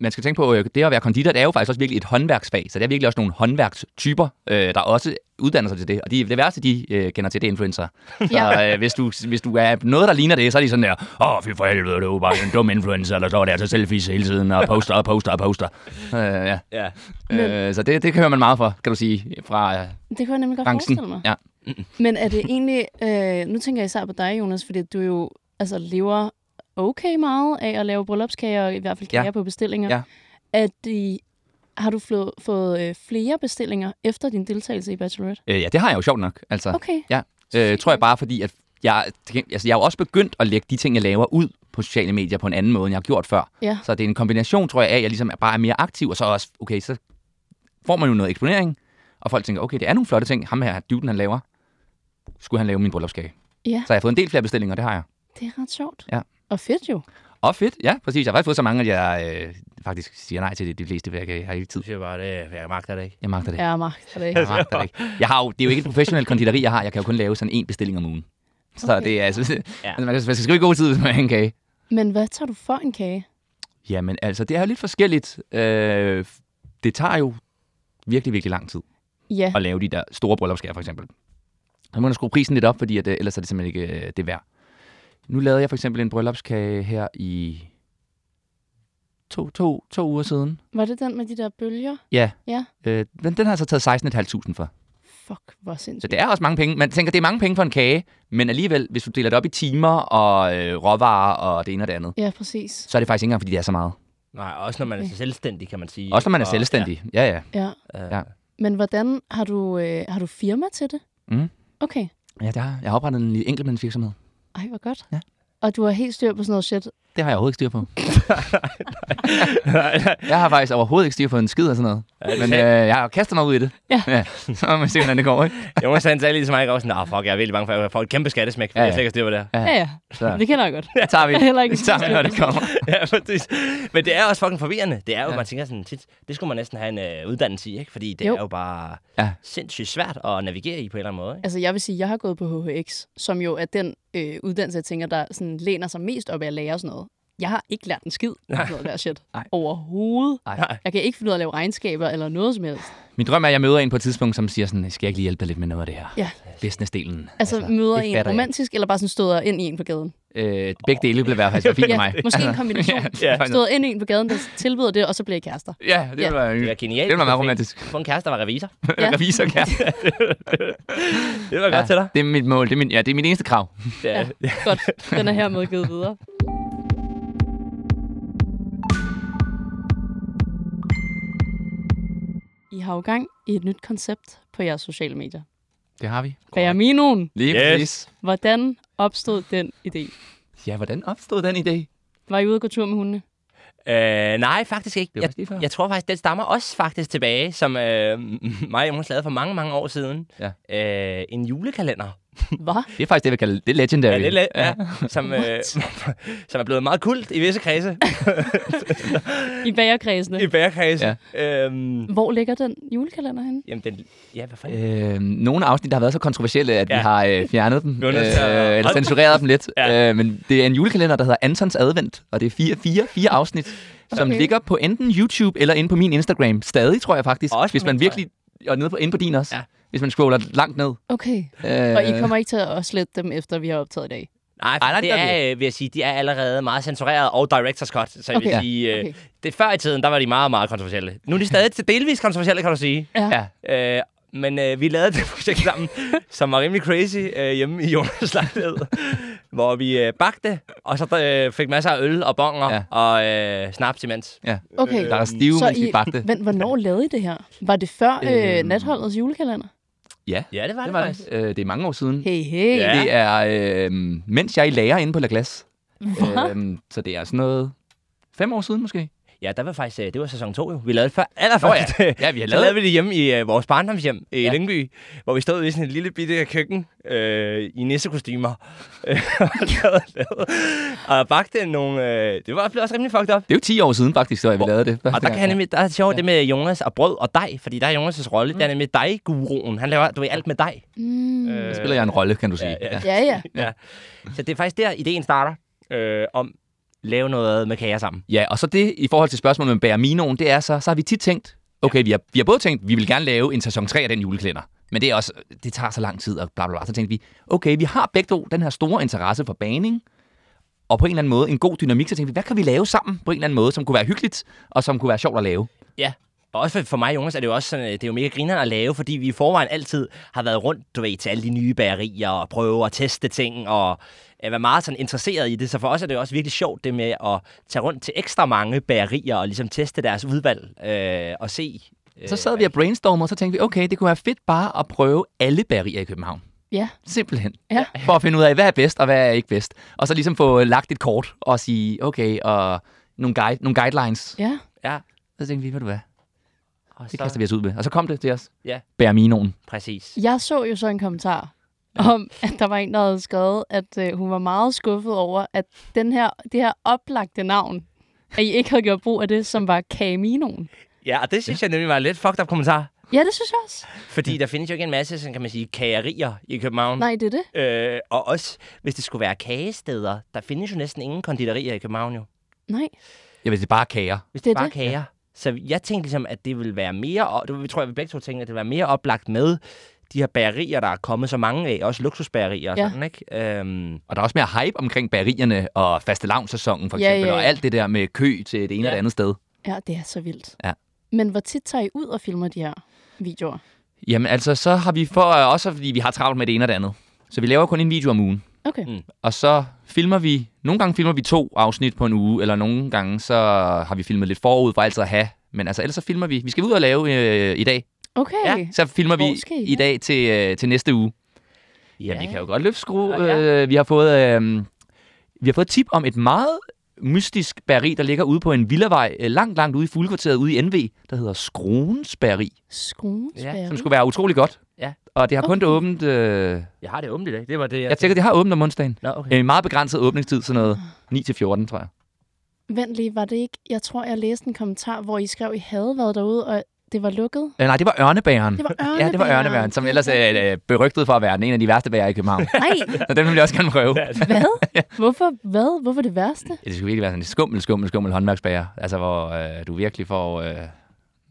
Man skal tænke på, øh, det at være konditor, det er jo faktisk også virkelig et håndværksfag, så der er virkelig også nogle håndværkstyper, øh, der også uddanner sig til det. Og de, det værste, de øh, kender til, det er influencer. Så
Ja.
øh, hvis, du, hvis du er noget, der ligner det, så er de sådan der, åh, fy for helvede, det er jo bare en dum influencer, der står der til altså selfies hele tiden og poster og poster og poster. Øh, ja.
Ja.
øh, så det, det hører man meget for, kan du sige, fra øh,
Det kunne jeg nemlig godt forestille mig.
branchen. Ja.
Men er det egentlig... Øh, nu tænker jeg især på dig, Jonas, fordi du jo altså, lever okay meget af at lave bryllupskager, og i hvert fald
Ja.
kager ja. på bestillinger.
Ja.
At de, har du flå, fået øh, flere bestillinger efter din deltagelse i Bachelorette?
Øh, ja, det har jeg jo sjovt nok. Altså,
Okay.
Ja, øh, tror jeg bare, fordi at jeg, altså, jeg har jo også begyndt at lægge de ting, jeg laver ud på sociale medier på en anden måde, end jeg har gjort før.
Ja.
Så det er en kombination, tror jeg, af, at jeg ligesom er- bare er mere aktiv, og så også, okay, så får man jo noget eksponering, og folk tænker, okay, det er nogle flotte ting, ham her, dyden han laver, skulle han lave min bryllupskage.
Ja.
Så jeg har fået en del flere bestillinger, det har jeg.
Det er ret sjovt.
Ja.
Og fedt jo.
Og fedt, ja, præcis. Jeg har faktisk fået så mange, at jeg øh, faktisk siger nej til det, de fleste, for jeg, kan- jeg har ikke tid.
Du siger bare, det, jeg magter det ikke.
Jeg magter det.
Ja, Mark. Det er
Jeg magter det ikke. Jeg har jo, det er jo ikke et professionelt konditori, jeg har. Jeg kan jo kun lave sådan en bestilling om ugen. Så
Okay.
det er altså... Ja.
Ja.
altså man, skal, man skal skrive god tid, hvis man vil have en kage.
Men hvad tager du for en kage?
Jamen altså, det er jo lidt forskelligt. Øh, det tager jo virkelig, virkelig lang tid
Ja,
at lave de der store bryllupskager, for eksempel. Så må man skrue prisen lidt op, fordi at, øh, ellers er det simpelthen ikke øh, det værd. Nu lavede jeg for eksempel en bryllupskage her i to, to, to uger siden.
var det den med de der bølger?
Ja.
Ja.
Øh, den, den har jeg så taget 16.500 for.
Fuck, hvor
Så
sindssygt.
det er også mange penge. Man tænker, det er mange penge for en kage, men alligevel, hvis du deler det op i timer og øh, råvarer og det ene og det andet,
Ja, præcis.
så er det faktisk ikke engang, fordi det er så meget.
Nej, også når man er så selvstændig, kan man sige.
Også når man er
Og-
selvstændig. Ja, Øh. ja.
Ja.
Ja.
Ja.
Ja.
Men hvordan har du, øh, har du firma til det?
Mm.
Okay.
Ja, det har, jeg har oprettet en lille enkeltmandsvirksomhed.
Ej, hvor godt.
Ja.
Og du har helt styr på sådan noget shit.
Det har jeg overhovedet ikke styr på. jeg har faktisk overhovedet ikke styr på en skid og sådan noget. Men øh, jeg har kastet mig ud i det.
Ja.
ja. Så må man se, hvordan det går, ikke?
Jonas han sagde lige til mig ikke også sådan, nah, fuck, jeg er virkelig bange for, at jeg får et kæmpe skattesmæk, fordi
Ja,
ja,
ja.
ja. jeg slet ikke har styr på det her.
Ja.
Ja, ja.
Så.
Det kender jeg godt.
Det tager vi,
Jeg har heller ikke
det tager vi, når det kommer.
ja, præcis. Men det er også fucking forvirrende. Det er jo, ja. man tænker sådan tit, det skulle man næsten have en øh, uddannelse i, ikke? Fordi det
Jo.
jo. er jo bare
Ja.
ja. sindssygt svært at navigere i på en eller anden måde, ikke?
Altså, jeg vil sige, jeg har gået på HHX, som jo er den øh, uddannelse, jeg tænker, der sådan læner sig mest op af at lære sådan noget. Jeg har ikke lært en skid om sådan noget der shit.
Nej.
Overhovedet.
Nej.
Jeg kan ikke finde ud af at lave regnskaber eller noget som helst.
Min drøm er, at jeg møder en på et tidspunkt, som siger sådan, skal jeg ikke lige hjælpe dig lidt med noget af det her?
Ja.
Businessdelen.
Altså, møder
det
en
fatter jeg
romantisk, eller bare sådan støder ind i en på gaden.
ikke. Øh, begge dele blev i hvert fald for fint for
Ja,
mig.
måske en kombination.
ja.
Støder ind i en på gaden, der tilbyder det, og så bliver I kærester.
Ja, det
Ja.
ville være,
Det var genialt.
Det var meget
Du fik-
romantisk.
Få en kæreste, der var revisor.
Ja.
Ja. Revisor kan.
Det var ja. godt til dig.
Det er mit mål. Det er min, ja, det er mit eneste krav.
Ja.
Godt, den er hermed givet videre. I har jo gang i et nyt koncept på jeres sociale medier.
Det har vi.
Bagerminoen.
Lige
Yes.
yes. præcis.
Hvordan opstod den idé?
Ja, hvordan opstod den idé?
Var I ude at gå tur med hundene?
Øh, nej, faktisk ikke.
Det var
Jeg,
faktisk lige før.
jeg tror faktisk, den stammer også faktisk tilbage, som øh, mig og Jonas lavede for mange, mange år siden. Øh, en julekalender.
Hvad?
Det er faktisk det, vi kalder det er legendary.
Ja, det er lidt, ja. Som, øh, som er blevet meget kult i visse kredse.
I bagerkredsene.
I bærkredse. Ja. Øhm,
Hvor ligger den julekalender henne?
jamen, den... Ja, hvad fanden?
Øh, nogle afsnit, der har været så kontroversielle, at ja. vi
Ja.
har øh, fjernet dem,
Vi var
øh,
nødt til at-
eller censureret dem lidt. ja. øh, men det er en julekalender, der hedder Antons Advent, og det er fire, fire, fire afsnit, som ligger på enten YouTube eller inde på min Instagram. Stadig, tror jeg faktisk,
Og også på
hvis man
min,
virkelig... Og nede på, inde på din også, ja.
Ja.
hvis man scroller langt ned.
Okay.
Øh,
Og I kommer ikke til at slette dem, efter vi har optaget i dag?
Nej,
Ej, nej,
for
det
det
gør vi
er, øh, vil jeg sige, de er allerede meget censureret og director's cut. Så jeg
Okay.
vil sige, øh,
Okay.
det, før i tiden, der var de meget, meget kontroversielle. Nu er de stadig til delvis kontroversielle, kan du sige.
Ja.
Øh, men øh, vi lavede det projekt sammen, som var rimelig crazy øh, hjemme i Jonas lejlighed, hvor vi øh, bagte, og så øh, fik masser af øl og bonger
Ja.
ja. og øh, snaps imens.
ja.
Okay.
Der er stive,
Så
mens vi
I-
bagte. Øhm.
Men hvornår lavede I det her? Var det før øh, natholdets julekalender?
Ja,
Ja, det var det,
det var
faktisk.
det. Øh, det er mange år siden.
Hey, hey.
Ja.
Det er, øh, mens jeg er i lærer inde på La Glace. Øh, så det er sådan noget... Fem år siden måske?
Ja, der var faktisk, øh, det var sæson 2 jo. Vi lavede det før, allerførst.
Nå ja. Ja, vi har
Så
lavet-
lavede vi det hjemme i øh, vores barndomshjem
Ja.
i ja. Lyngby, hvor vi stod ude i sådan et lille bitte køkken øh, i nissekostymer. Øh, og lavede, lavede, og bagte nogle... Øh, det var også rimelig fucked up.
Det er jo 10 år siden faktisk, da vi lavede det.
Og der, kan jeg nemlig, der er sjovt det med Jonas og brød og dig, fordi der er Jonas' rolle, mm. der er nemlig dig-guruen. Han laver, du ved, alt med dig.
Mm.
Øh,
spiller jeg en rolle, kan du sige.
ja.
Ja, ja.
Så det er faktisk der, ideen starter, øh, om lave noget med kager sammen.
Ja, og så det i forhold til spørgsmålet med Bærminoen, det er så, så har vi tit tænkt, okay, vi har, vi har både tænkt, vi vil gerne lave en sæson 3 af den juleklænder, men det er også, det tager så lang tid, og bla bla bla. Så tænkte vi, okay, vi har begge to den her store interesse for baning, og på en eller anden måde en god dynamik, så tænkte vi, hvad kan vi lave sammen på en eller anden måde, som kunne være hyggeligt, og som kunne være sjovt at lave?
Ja. Og også for- for mig, Jonas, er det jo også sådan, øh, det er jo mega grineren at lave, fordi vi i forvejen altid har været rundt, du ved, til alle de nye bagerier og prøve at teste ting og øh, være meget sådan interesseret i det. Så for os er det jo også virkelig sjovt det med at tage rundt til ekstra mange bagerier og ligesom teste deres udvalg øh, og se. Øh,
Så sad vi og brainstormede, og så tænkte vi, okay, det kunne være fedt bare at prøve alle bagerier i København.
ja.
Simpelthen.
Ja.
For at finde ud af, hvad er bedst, og hvad er ikke bedst. Og så ligesom få øh, lagt et kort og sige, okay, og nogle, guide, nogle guidelines.
ja.
Ja,
Så tænkte vi, ved du hvad,
og
Det kaster vi os ud med. Og så kom det til os.
Ja.
Bærminoen.
Præcis.
Jeg så jo så en kommentar om, at der var en, der havde skrevet, at øh, hun var meget skuffet over, at den her, det her oplagte navn, at I ikke havde gjort brug af det, som var Caminoen.
Ja, og det synes jeg nemlig var en lidt fucked up kommentar.
Ja, det synes jeg også.
Fordi der findes jo ikke en masse, sådan kan man sige, kagerier i København.
Nej, det er det.
Øh, og også, hvis det skulle være kagesteder, der findes jo næsten ingen konditorier i København jo.
Nej.
Jeg ved, det er bare kager.
Hvis
Det
det,
er
det bare
det.
det. kager. Så jeg tænkte ligesom, at det ville være mere, og det tror jeg, vi begge to tænkte, at det ville være mere oplagt med de her bagerier, der er kommet så mange af, også luksusbagerier og
Ja.
sådan, ikke? Øhm,
Og der er også mere hype omkring bagerierne og faste sæsonen for
Ja,
eksempel.
ja,
Og
ja.
alt det der med kø til det ene ja. og det andet sted.
Ja, det er så vildt.
Ja.
Men hvor tit tager I ud og filmer de her videoer?
Jamen altså, så har vi for, også fordi vi har travlt med det ene og det andet. Så vi laver kun en video om ugen.
Okay.
Mm.
Og så filmer vi, nogle gange filmer vi to afsnit på en uge, eller nogle gange så har vi filmet lidt forud for altid at have. Men altså, ellers så filmer vi. Vi skal ud og lave øh, i dag.
Okay.
Ja, så filmer
Hvor
vi
skal I
i
hen?
dag til, øh, til næste uge. Ja,
Ja.
vi kan jo godt løfte skrue. Øh, vi har fået øh, vi har fået tip om et meget mystisk bageri, der ligger ude på en villavej, øh, langt, langt ude i fuglekvarteret ude i NV, der hedder Skruens Bageri,
Skruespærre.
som skulle være utrolig godt.
Ja.
Og det har kun okay. åbent... Øh,
jeg har det åbent i dag. Det var det, jeg,
jeg tænker, det har åbent om onsdagen.
Nå, okay.
En meget begrænset åbningstid, sådan noget 9-14, tror jeg.
Vent lige, var det ikke... Jeg tror, jeg læste en kommentar, hvor I skrev, I havde været derude, og det var lukket.
Øh, nej, det var Ørnebæren.
Det var
Ja, det var Ørnebæren, som ellers er øh, berygtet for at være den en af de værste bager i København.
Nej,
Så den vil jeg også gerne prøve. Ja,
hvad? Hvorfor, hvad? Hvorfor det værste?
det skulle virkelig være sådan en skummel, skummel, skummel håndværksbager. Altså, hvor øh, du virkelig får øh,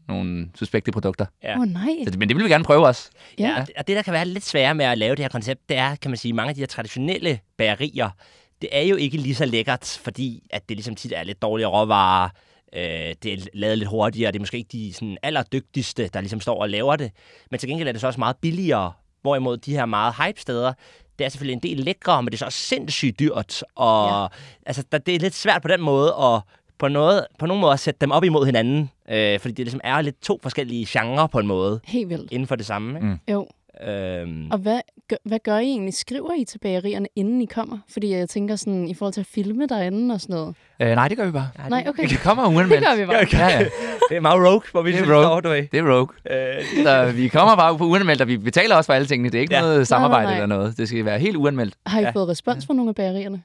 nogle suspekte produkter.
Åh, oh, nej.
Så det- Men det vil vi gerne prøve også.
Ja, og det- og det, der kan være lidt sværere med at lave det her koncept, det er, kan man sige, mange af de her traditionelle bagerier, det er jo ikke lige så lækkert, fordi at det ligesom tit er lidt dårligere råvarer, øh, det er lavet lidt hurtigere, det er måske ikke de sådan, allerdygtigste, der ligesom står og laver det, men til gengæld er det så også meget billigere, hvorimod de her meget hype-steder, det er selvfølgelig en del lækre, men det er så også sindssygt dyrt, og ja. altså, der, det er lidt svært på den måde at på, noget, på nogen måde at sætte dem op imod hinanden, øh, fordi det ligesom er lidt to forskellige genrer på en måde,
Helt vildt.
inden for det samme. Ikke?
Jo.
Øhm,
Og hvad, gør, hvad gør I egentlig? Skriver I til bagerierne, inden I kommer? Fordi jeg tænker sådan, i forhold til at filme derinde og sådan noget.
Øh, nej, det gør vi bare.
Nej, okay.
Vi kommer uanmeldt.
Det gør vi bare.
Ja, ja.
det er meget rogue, hvor vi
Det er
lige
rogue.
står, du ved.
Det er rogue.
Øh,
Så vi kommer bare på uanmeldt, og vi betaler også for alle tingene. Det er ikke
Ja.
ja. noget samarbejde
nej.
eller noget. Det skal være helt uanmeldt.
Har I
Ja.
ja. fået respons fra nogle af bagerierne?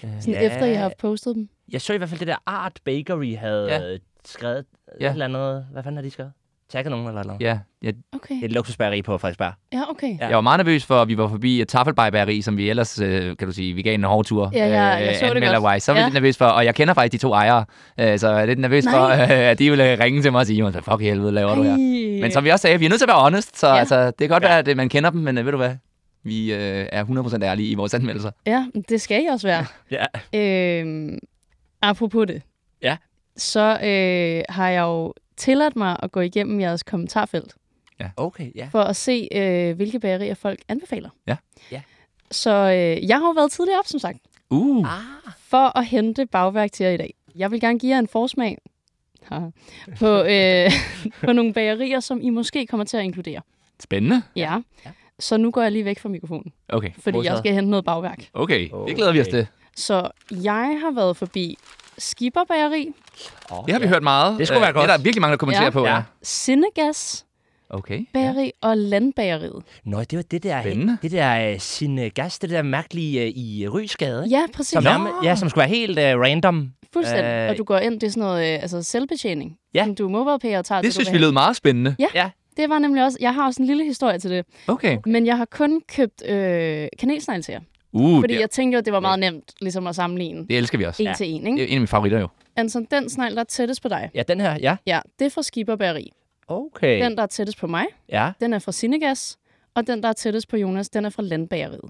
Sådan
Ja.
ja. efter I har postet dem?
Jeg så i hvert fald det der Art Bakery havde
Ja.
ja. skrevet ja.
Ja.
et eller andet. Hvad fanden har de skrevet? Tagget nogen eller et eller andet?
Ja. Jeg,
Okay.
Det er et luksusbageri på Frederiksberg.
Ja, okay.
Ja.
jeg var meget nervøs for, at vi var forbi et taffelbejbæreri, som vi ellers, øh, kan du sige, vi gav en hård tur.
Ja, ja, jeg så det godt.
anmelderwise. Så var jeg
Ja.
lidt nervøs for, og jeg kender faktisk de to ejere, øh, så jeg er lidt nervøs
Nej.
for, øh, at de ville ringe til mig og sige, "Jonas, hvad fuck i helvede laver du her?
Ej.
Men som vi også sagde, vi er nødt til at være honest, så
Ja.
ja. altså, det kan godt
Ja.
ja. være, at øh, man kender dem, men øh, ved du hvad? Vi øh, er 100% ærlige i vores anmeldelser.
Ja, men det skal I også være.
Ja.
øhm, apropos det.
Ja.
Så øh, har jeg jo tilladt mig at gå igennem jeres kommentarfelt,
Okay, ja.
for at se, øh, hvilke bagerier folk anbefaler.
Ja.
Ja.
Så øh, jeg har jo været tidligere op, som sagt,
Uh,
Ah. for at hente bagværk til jer i dag. Jeg vil gerne give jer en forsmag haha, på, øh, på nogle bagerier, som I måske kommer til at inkludere.
spændende.
Ja. ja. Så nu går jeg lige væk fra mikrofonen,
Okay,
fordi jeg skal hente noget bagværk.
okay. det glæder vi os
Okay.
til.
Så jeg har været forbi Skipper Bageri,
Oh,
Det har vi hørt meget.
Det skulle
Øh,
være godt.
Det er der virkelig mange, der kommenterer
Ja.
på.
Ja.
Ja.
Sindegas
Okay.
Bageri ja. og Landbageriet.
Nå, det var det der,
Spændende.
det der uh, sin uh, gas, det der mærkelige uh, i uh, Rysgade.
Ja, præcis.
Som,
Som
er, ja, som skulle være helt uh, random.
Fuldstændig.
Øh,
Og du går ind, det er sådan noget øh, altså selvbetjening.
Ja.
Som du mobile og tager
Det
du
synes
vil
vi
have.
lød meget spændende.
Det var nemlig også, jeg har også en lille historie til det.
Okay.
Men jeg har kun købt øh, kanelsnegle til jer.
Uh,
Fordi
det,
jeg tænkte jo, at det var meget nemt ligesom at sammenligne
det elsker vi også.
en til en.
Det
Ikke?
er en af mine favoritter jo.
Altså den snegl, der er tættest på dig.
Ja, den her, ja.
Ja, det er fra Skipper Bageri.
Okay.
Den, der er tættest på mig,
Ja.
den er fra Sinegas. Og den, der er tættest på Jonas, den er fra Landbageriet.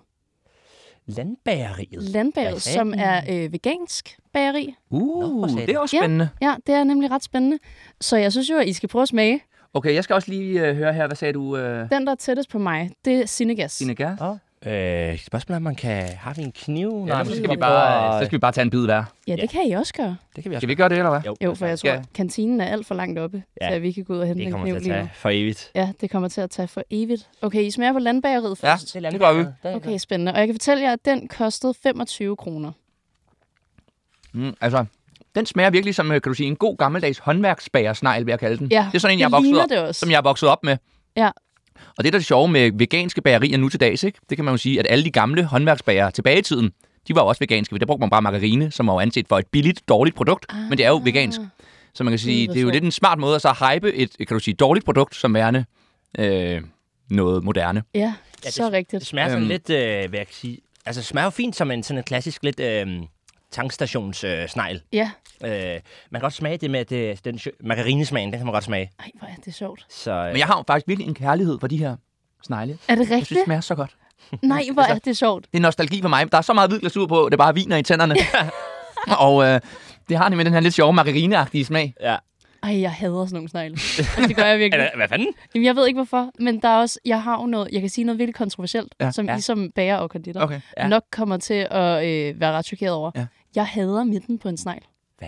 Landbageriet.
Landbageriet,
Hvad
som er øh, vegansk bageri.
Nå, for
Uh,
satan.
det er også
Ja.
spændende.
Ja, det er nemlig ret spændende. Så jeg synes jo, at I skal prøve at smage.
Okay, jeg skal også lige øh, høre her, hvad sagde du, øh,
Den, der er tættest på mig, det er Sinegas.
Signe Gær?
Oh. Øh, spørgsmålet er, om man kan... Har vi en kniv? Ja,
Nej, så skal, vi bare, så skal vi bare tage en bid hver.
Ja, det kan I også gøre.
Det kan vi også
Skal vi gøre det, eller hvad?
Jo, for jeg tror,
skal-
at kantinen er alt for langt oppe,
Ja.
ja. så vi kan gå ud og hente
Det
en
kommer
kniv
til at
lige nu.
tage for evigt.
Ja, det kommer til at tage for evigt. Okay, I smager på landbageriet
Ja,
først.
det gør vi.
Okay, spændende. Og jeg kan fortælle jer, at den kostede 25 kroner.
Mm, altså, den smager virkelig som, øh, kan du sige, en god gammeldags håndværksbagersnegl, vil jeg kalde den.
Ja,
det er sådan en,
det
jeg er vokset
ligner
op,
det også.
som jeg er vokset op med.
Ja.
Og det, der er det sjove med veganske bagerier nu til dags, ikke? det kan man jo sige, at alle de gamle håndværksbager tilbage i tiden, de var jo også veganske. Der brugte man bare margarine, som var jo anset for et billigt, dårligt produkt, ah, men det er jo vegansk. Så man kan sige,
Gud, hvor
det er jo
sjovt.
lidt en smart måde at så hype et, kan du sige, dårligt produkt som værende øh, noget moderne.
Ja, ja
det-
så rigtigt.
Det smager sådan
Øhm.
lidt, øh, hvad jeg kan sige... Altså, smager jo fint som en sådan en klassisk lidt øh, tankstationssnegl. Øh, snegl.
Ja,
øh, man kan godt smage det med at det, den sjø- margarinesmagen, den kan man godt smage.
Ej, hvor er det sjovt.
Så, øh,
Men jeg har jo faktisk virkelig en kærlighed for de her snegle.
Er det
Jeg synes, det
rigtigt?
smager så godt.
Nej, hvor er det sjovt.
Det er nostalgi for mig. Der er så meget hvid glasur på, det bare viner i tænderne. og øh, det har det med den her lidt sjove margarineagtige smag.
ja.
Ej, jeg hader sådan nogle snegle. Altså, det gør jeg virkelig.
Eller, hvad fanden?
Jamen, jeg ved ikke hvorfor, men der er også, jeg har jo noget, jeg kan sige noget virkelig kontroversielt, ja, som ja. I som bager og konditor
Okay,
ja.
ja. nok kommer til at øh, være ret chokeret over.
Ja.
Ja. Jeg hader midten på en snegl.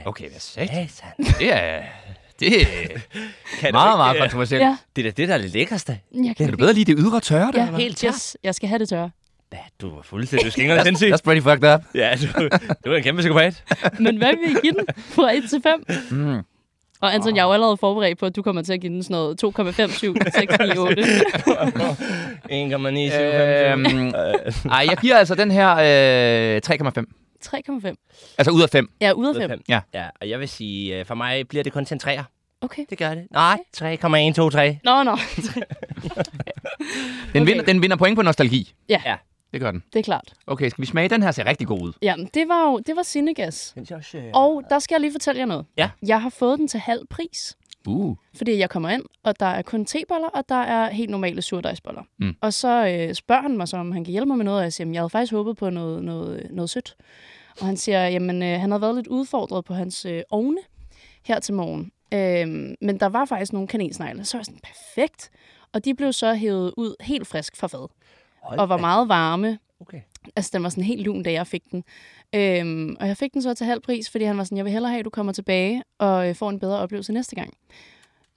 Okay, hvad sagde
Satan.
Det er, det er meget, meget kontroversielt.
Ja,
øh, Det er da det, der er det lækkerste.
jeg
Kan
kan
du bedre lide det ydre tørre der?
Ja,
eller?
helt yes, jeg skal have det tørre.
Ja, du var fuldstændig. Du skænger
That's, that's pretty fucked up.
Ja, du, du er en kæmpe psykopat.
Men hvad vil I give den fra 1 til 5?
Mm.
Og Anton, jeg er jo allerede forberedt på, at du kommer til at give den sådan noget 2,57698.
Øhm. 1,975.
Øhm, ej, jeg giver altså den her øh, 3,5.
3,5.
Altså ud af 5.
Ja, ud af 5.
Ja.
ja, og jeg vil sige, øh, for mig bliver det kun til en 3'er.
Okay.
Det gør det. Nej, 3,123.
Nå, nå,
Den, okay. vinder, den vinder point på nostalgi.
Ja.
Ja.
Det gør den.
det er klart.
Okay, skal vi smage? Den her ser rigtig god ud.
Jamen, det var jo, det var Sinegas.
Den ser også... Øh...
Og der skal jeg lige fortælle jer noget.
Ja.
Jeg har fået den til halv pris.
Uh.
Fordi jeg kommer ind, og der er kun teboller, og der er helt normale surdejsboller.
Mm.
Og så øh, spørger han mig så, om han kan hjælpe mig med noget, og jeg siger, at jeg havde faktisk håbet på noget, noget, noget sødt. Og han siger, jamen øh, han havde været lidt udfordret på hans øh, ovne her til morgen. Øhm, men der var faktisk nogle kanelsnegle, så var jeg sådan, perfekt. Og de blev så hævet ud helt frisk fra fad, og var meget varme.
Okay.
Altså, den var sådan helt lun, da jeg fik den. Øhm, og jeg fik den så til halv pris, fordi han var sådan, jeg vil hellere have, at du kommer tilbage og øh, får en bedre oplevelse næste gang.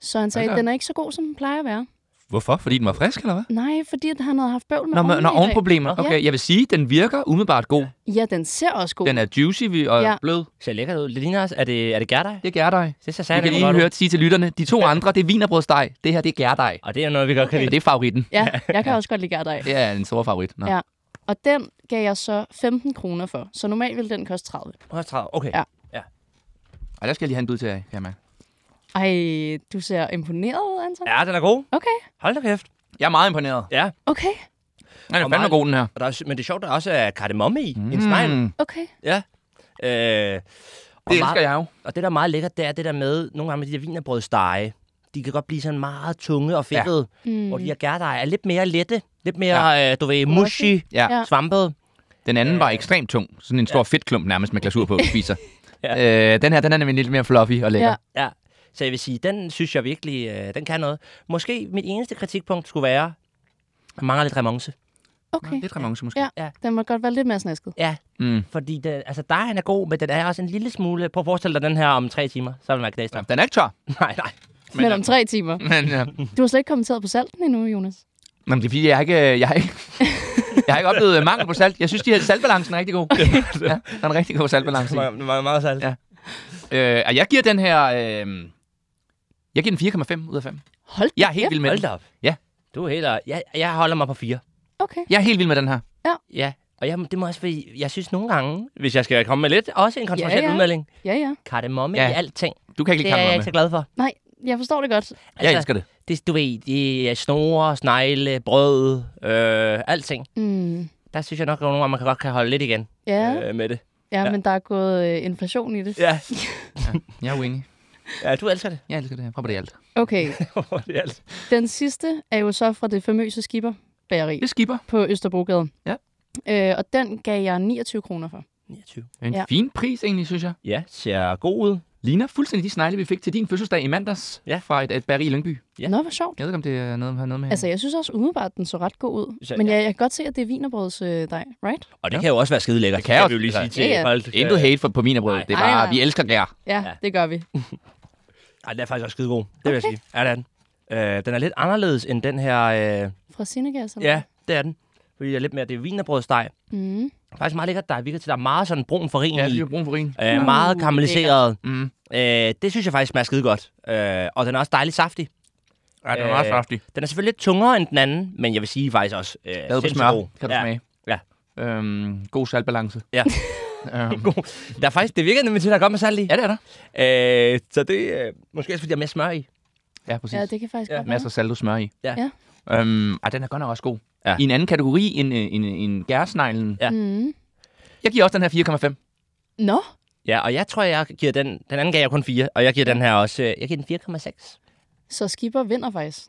Så han sagde,
Hold da
den er ikke så god, som den plejer at være.
Hvorfor? Fordi den var frisk, eller hvad?
Nej, fordi at han havde haft bøvl med
Nå, men-
ovnene
nå,
i dag.
ovenproblemer.
Ja.
Okay, jeg vil sige, den virker umiddelbart god.
Ja, den ser også god.
Den er juicy vi- og
Ja.
blød.
Ser lækkert ud. Det ligner også. Er det, er det gærdej?
Det er gærdej.
Det ser
Vi
særligt
kan lige
godt
høre
ud.
sige til lytterne. De to andre, det er vinerbrødsteg. Det her, det er gærdej.
Og det er noget, vi godt kan
Og
lide.
det er favoritten.
Ja, jeg kan også godt lide gærdej.
Det er en stor favorit. Nå.
Ja. Og den gav jeg så 15 kroner for, så normalt ville den koste 30.
Åh, Okay.
Ja.
Ej, der skal jeg lige have en bid til jer, kan jeg mærke.
Ej, du ser imponeret ud, Anton.
Ja, den er god.
Okay,
Hold da kæft.
Jeg er meget imponeret.
Ja.
okay,
Den er
Og
fandme
meget-
god, den her.
Og der er, men det er sjovt, der også er kardemomme i. Mm. En snegl.
Mm,
okay.
Ja. Øh, og,
det elsker
meget,
jeg jo.
og det, der er meget lækkert, det er det der med, nogle gange med de der vinerbrødstege, de kan godt blive sådan meget tunge og fedtede, ja. mm. hvor de her gærdeje er lidt mere lette, lidt mere, ja. øh, du ved, mushy,
Ja.
Ja.
svampet.
Den anden var ekstremt tung. Sådan en stor fedtklump nærmest med glasur på, du spiser. ja. øh, den her, den er nemlig lidt mere fluffy og lækker.
Ja.
Ja. Så jeg vil sige, den synes jeg virkelig, øh, den kan noget. Måske mit eneste kritikpunkt skulle være, der mangler lidt remonce.
Okay.
Lidt remonce måske.
Ja,
Ja.
den må godt være lidt mere snasket.
Ja,
Mm.
fordi det, altså, dejen er god, men den er også en lille smule... Prøv at forestille dig den her om tre timer, så vil man knæse
Ja.
dig.
Den er ikke tør.
Nej, nej.
Men, Men om tre timer.
Men, ja.
Du har slet ikke kommenteret på salten endnu, Jonas.
Nå, men det er fordi, jeg har ikke, jeg har ikke, jeg har ikke oplevet mangel på salt. Jeg synes, de her saltbalancen er rigtig god. ja, der er en rigtig god saltbalance. i.
Det var meget salt.
Ja. Øh, og jeg giver den her... Øh, jeg giver den 4,5 ud af 5.
Hold da
Jeg er helt
kæft.
vild med
Hold
den.
da op.
Ja.
Du er helt... øh, Jeg, jeg holder mig på fire.
Okay.
Jeg er helt vild med den her.
Ja. Og jeg, det må også være, jeg synes nogle gange, hvis jeg skal komme med lidt, også en kontroversiel
Ja, ja.
udmelding,
Ja, ja.
kardemomme
Ja.
ja. i alting.
Du kan ikke
Det
lide
er jeg
kameraet
ikke
med.
så glad for. Altså,
Nej, jeg forstår det godt.
Jeg elsker det.
det du ved, det er snore, snegle, brød, øh, alting.
Mm.
Der synes jeg nok, at nogle gange, man kan godt kan holde lidt igen
Ja,
øh, med det.
ja,
ja.
men der er gået øh, inflation i det.
Ja.
Jeg er uenig.
ja, du elsker det.
Jeg elsker det. Jeg prøver det i alt.
Okay,
det er alt.
den sidste er jo så fra det famøse skipper bageri
Det skipper.
på Østerbrogade.
Ja.
Øh, og den gav jeg 29 kroner for.
29.
En
Ja.
ja. fin pris egentlig, synes jeg.
Ja, ser god ud.
Ligner fuldstændig de snegle, vi fik til din fødselsdag i mandags
Ja.
fra et, et bageri i Lyngby.
Ja.
Ja. Nå, hvor sjovt.
Jeg ved ikke, om det er noget, har noget med
Altså, jeg synes også umiddelbart, den så ret god ud.
Så-
Men
ja.
jeg, jeg kan godt se, at det er vinerbrøds øh, dej, right?
Og det ja. kan jo også være altså. skide lækkert.
Det kan også.
Ja, ja.
folk.
Intet hate for, på min brød. Det er
Nej,
bare,
nej.
vi elsker gær.
Ja,
Ja.
ja. det gør vi.
Ej, den er faktisk også skide god. Det vil jeg
Okay.
sige. Ja, det er den. Øh, den er lidt anderledes end den her... Øh...
Fra Sinegas, eller?
Ja, det er den. Fordi jeg er lidt mere, det er vinerbrødsteg.
Mm.
Faktisk meget lækkert, der virker til, der er meget sådan brun farin
Ja,
i.
det er brun for en.
Øh, meget
Uh,
karamelliseret.
Mm.
Øh, det synes jeg faktisk smager skide godt. Øh, og den er også dejligt saftig.
Ja, den er
Øh,
meget saftig.
Den er selvfølgelig lidt tungere end den anden, men jeg vil sige faktisk også... Øh,
Lavet på
sindssygt
smør,
god.
kan du
ja.
smage.
Ja.
Øhm, god saltbalance.
Ja.
øhm,
God. Der er faktisk, det virker nemlig til, at der er godt med salt i.
ja, det er der.
Øh, så det øh, måske også, fordi der er mere smør i.
Ja, præcis.
Ja, det kan faktisk
Ja.
ja. godt være.
Masser af salt og smør i.
Ja.
Ja.
Øhm, ej, den er godt nok også god.
Ja.
I en anden kategori end, øh, end, end gærsneglen.
Ja.
Mm.
Jeg giver også den her 4,5.
Nå,
Ja, og jeg tror, jeg giver den... Den anden gav jeg kun 4, og jeg giver den her også... øh, Jeg giver den 4,6.
så skipper vinder faktisk.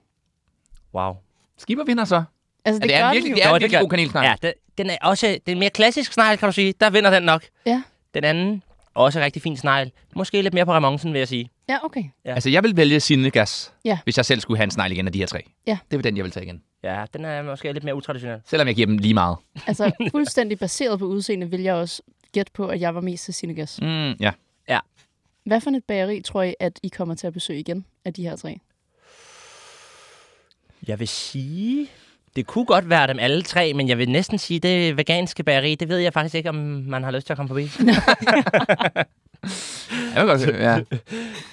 Wow.
Skipper vinder så.
Altså,
Ja,
det,
det er
gør
en
den
virkelig,
jo.
det er en
Nå, det
virkelig
gør-
god kanelsnegl.
Ja, den, den er også den er mere klassisk snegl, kan du sige. Der vinder den nok.
Ja.
Den anden, også rigtig fin snegl. Måske lidt mere på remoncen, vil jeg sige.
Ja, okay.
Altså, jeg vil vælge Sinegas,
Ja.
hvis jeg selv skulle have en snegl igen af de her tre.
Ja.
Det var den, jeg vil tage igen.
Ja, den er måske lidt mere utraditionel.
Selvom jeg giver dem lige meget.
Altså, fuldstændig baseret på udseende vil jeg også gætte på, at jeg var mest til Sinegas.
Mm, ja.
Hvad for et bageri tror I, at I kommer til at besøge igen af de her tre?
Jeg vil sige... Det kunne godt være dem alle tre, men jeg vil næsten sige, det veganske bageri, det ved jeg faktisk ikke, om man har lyst til at komme forbi.
Jeg, vil godt,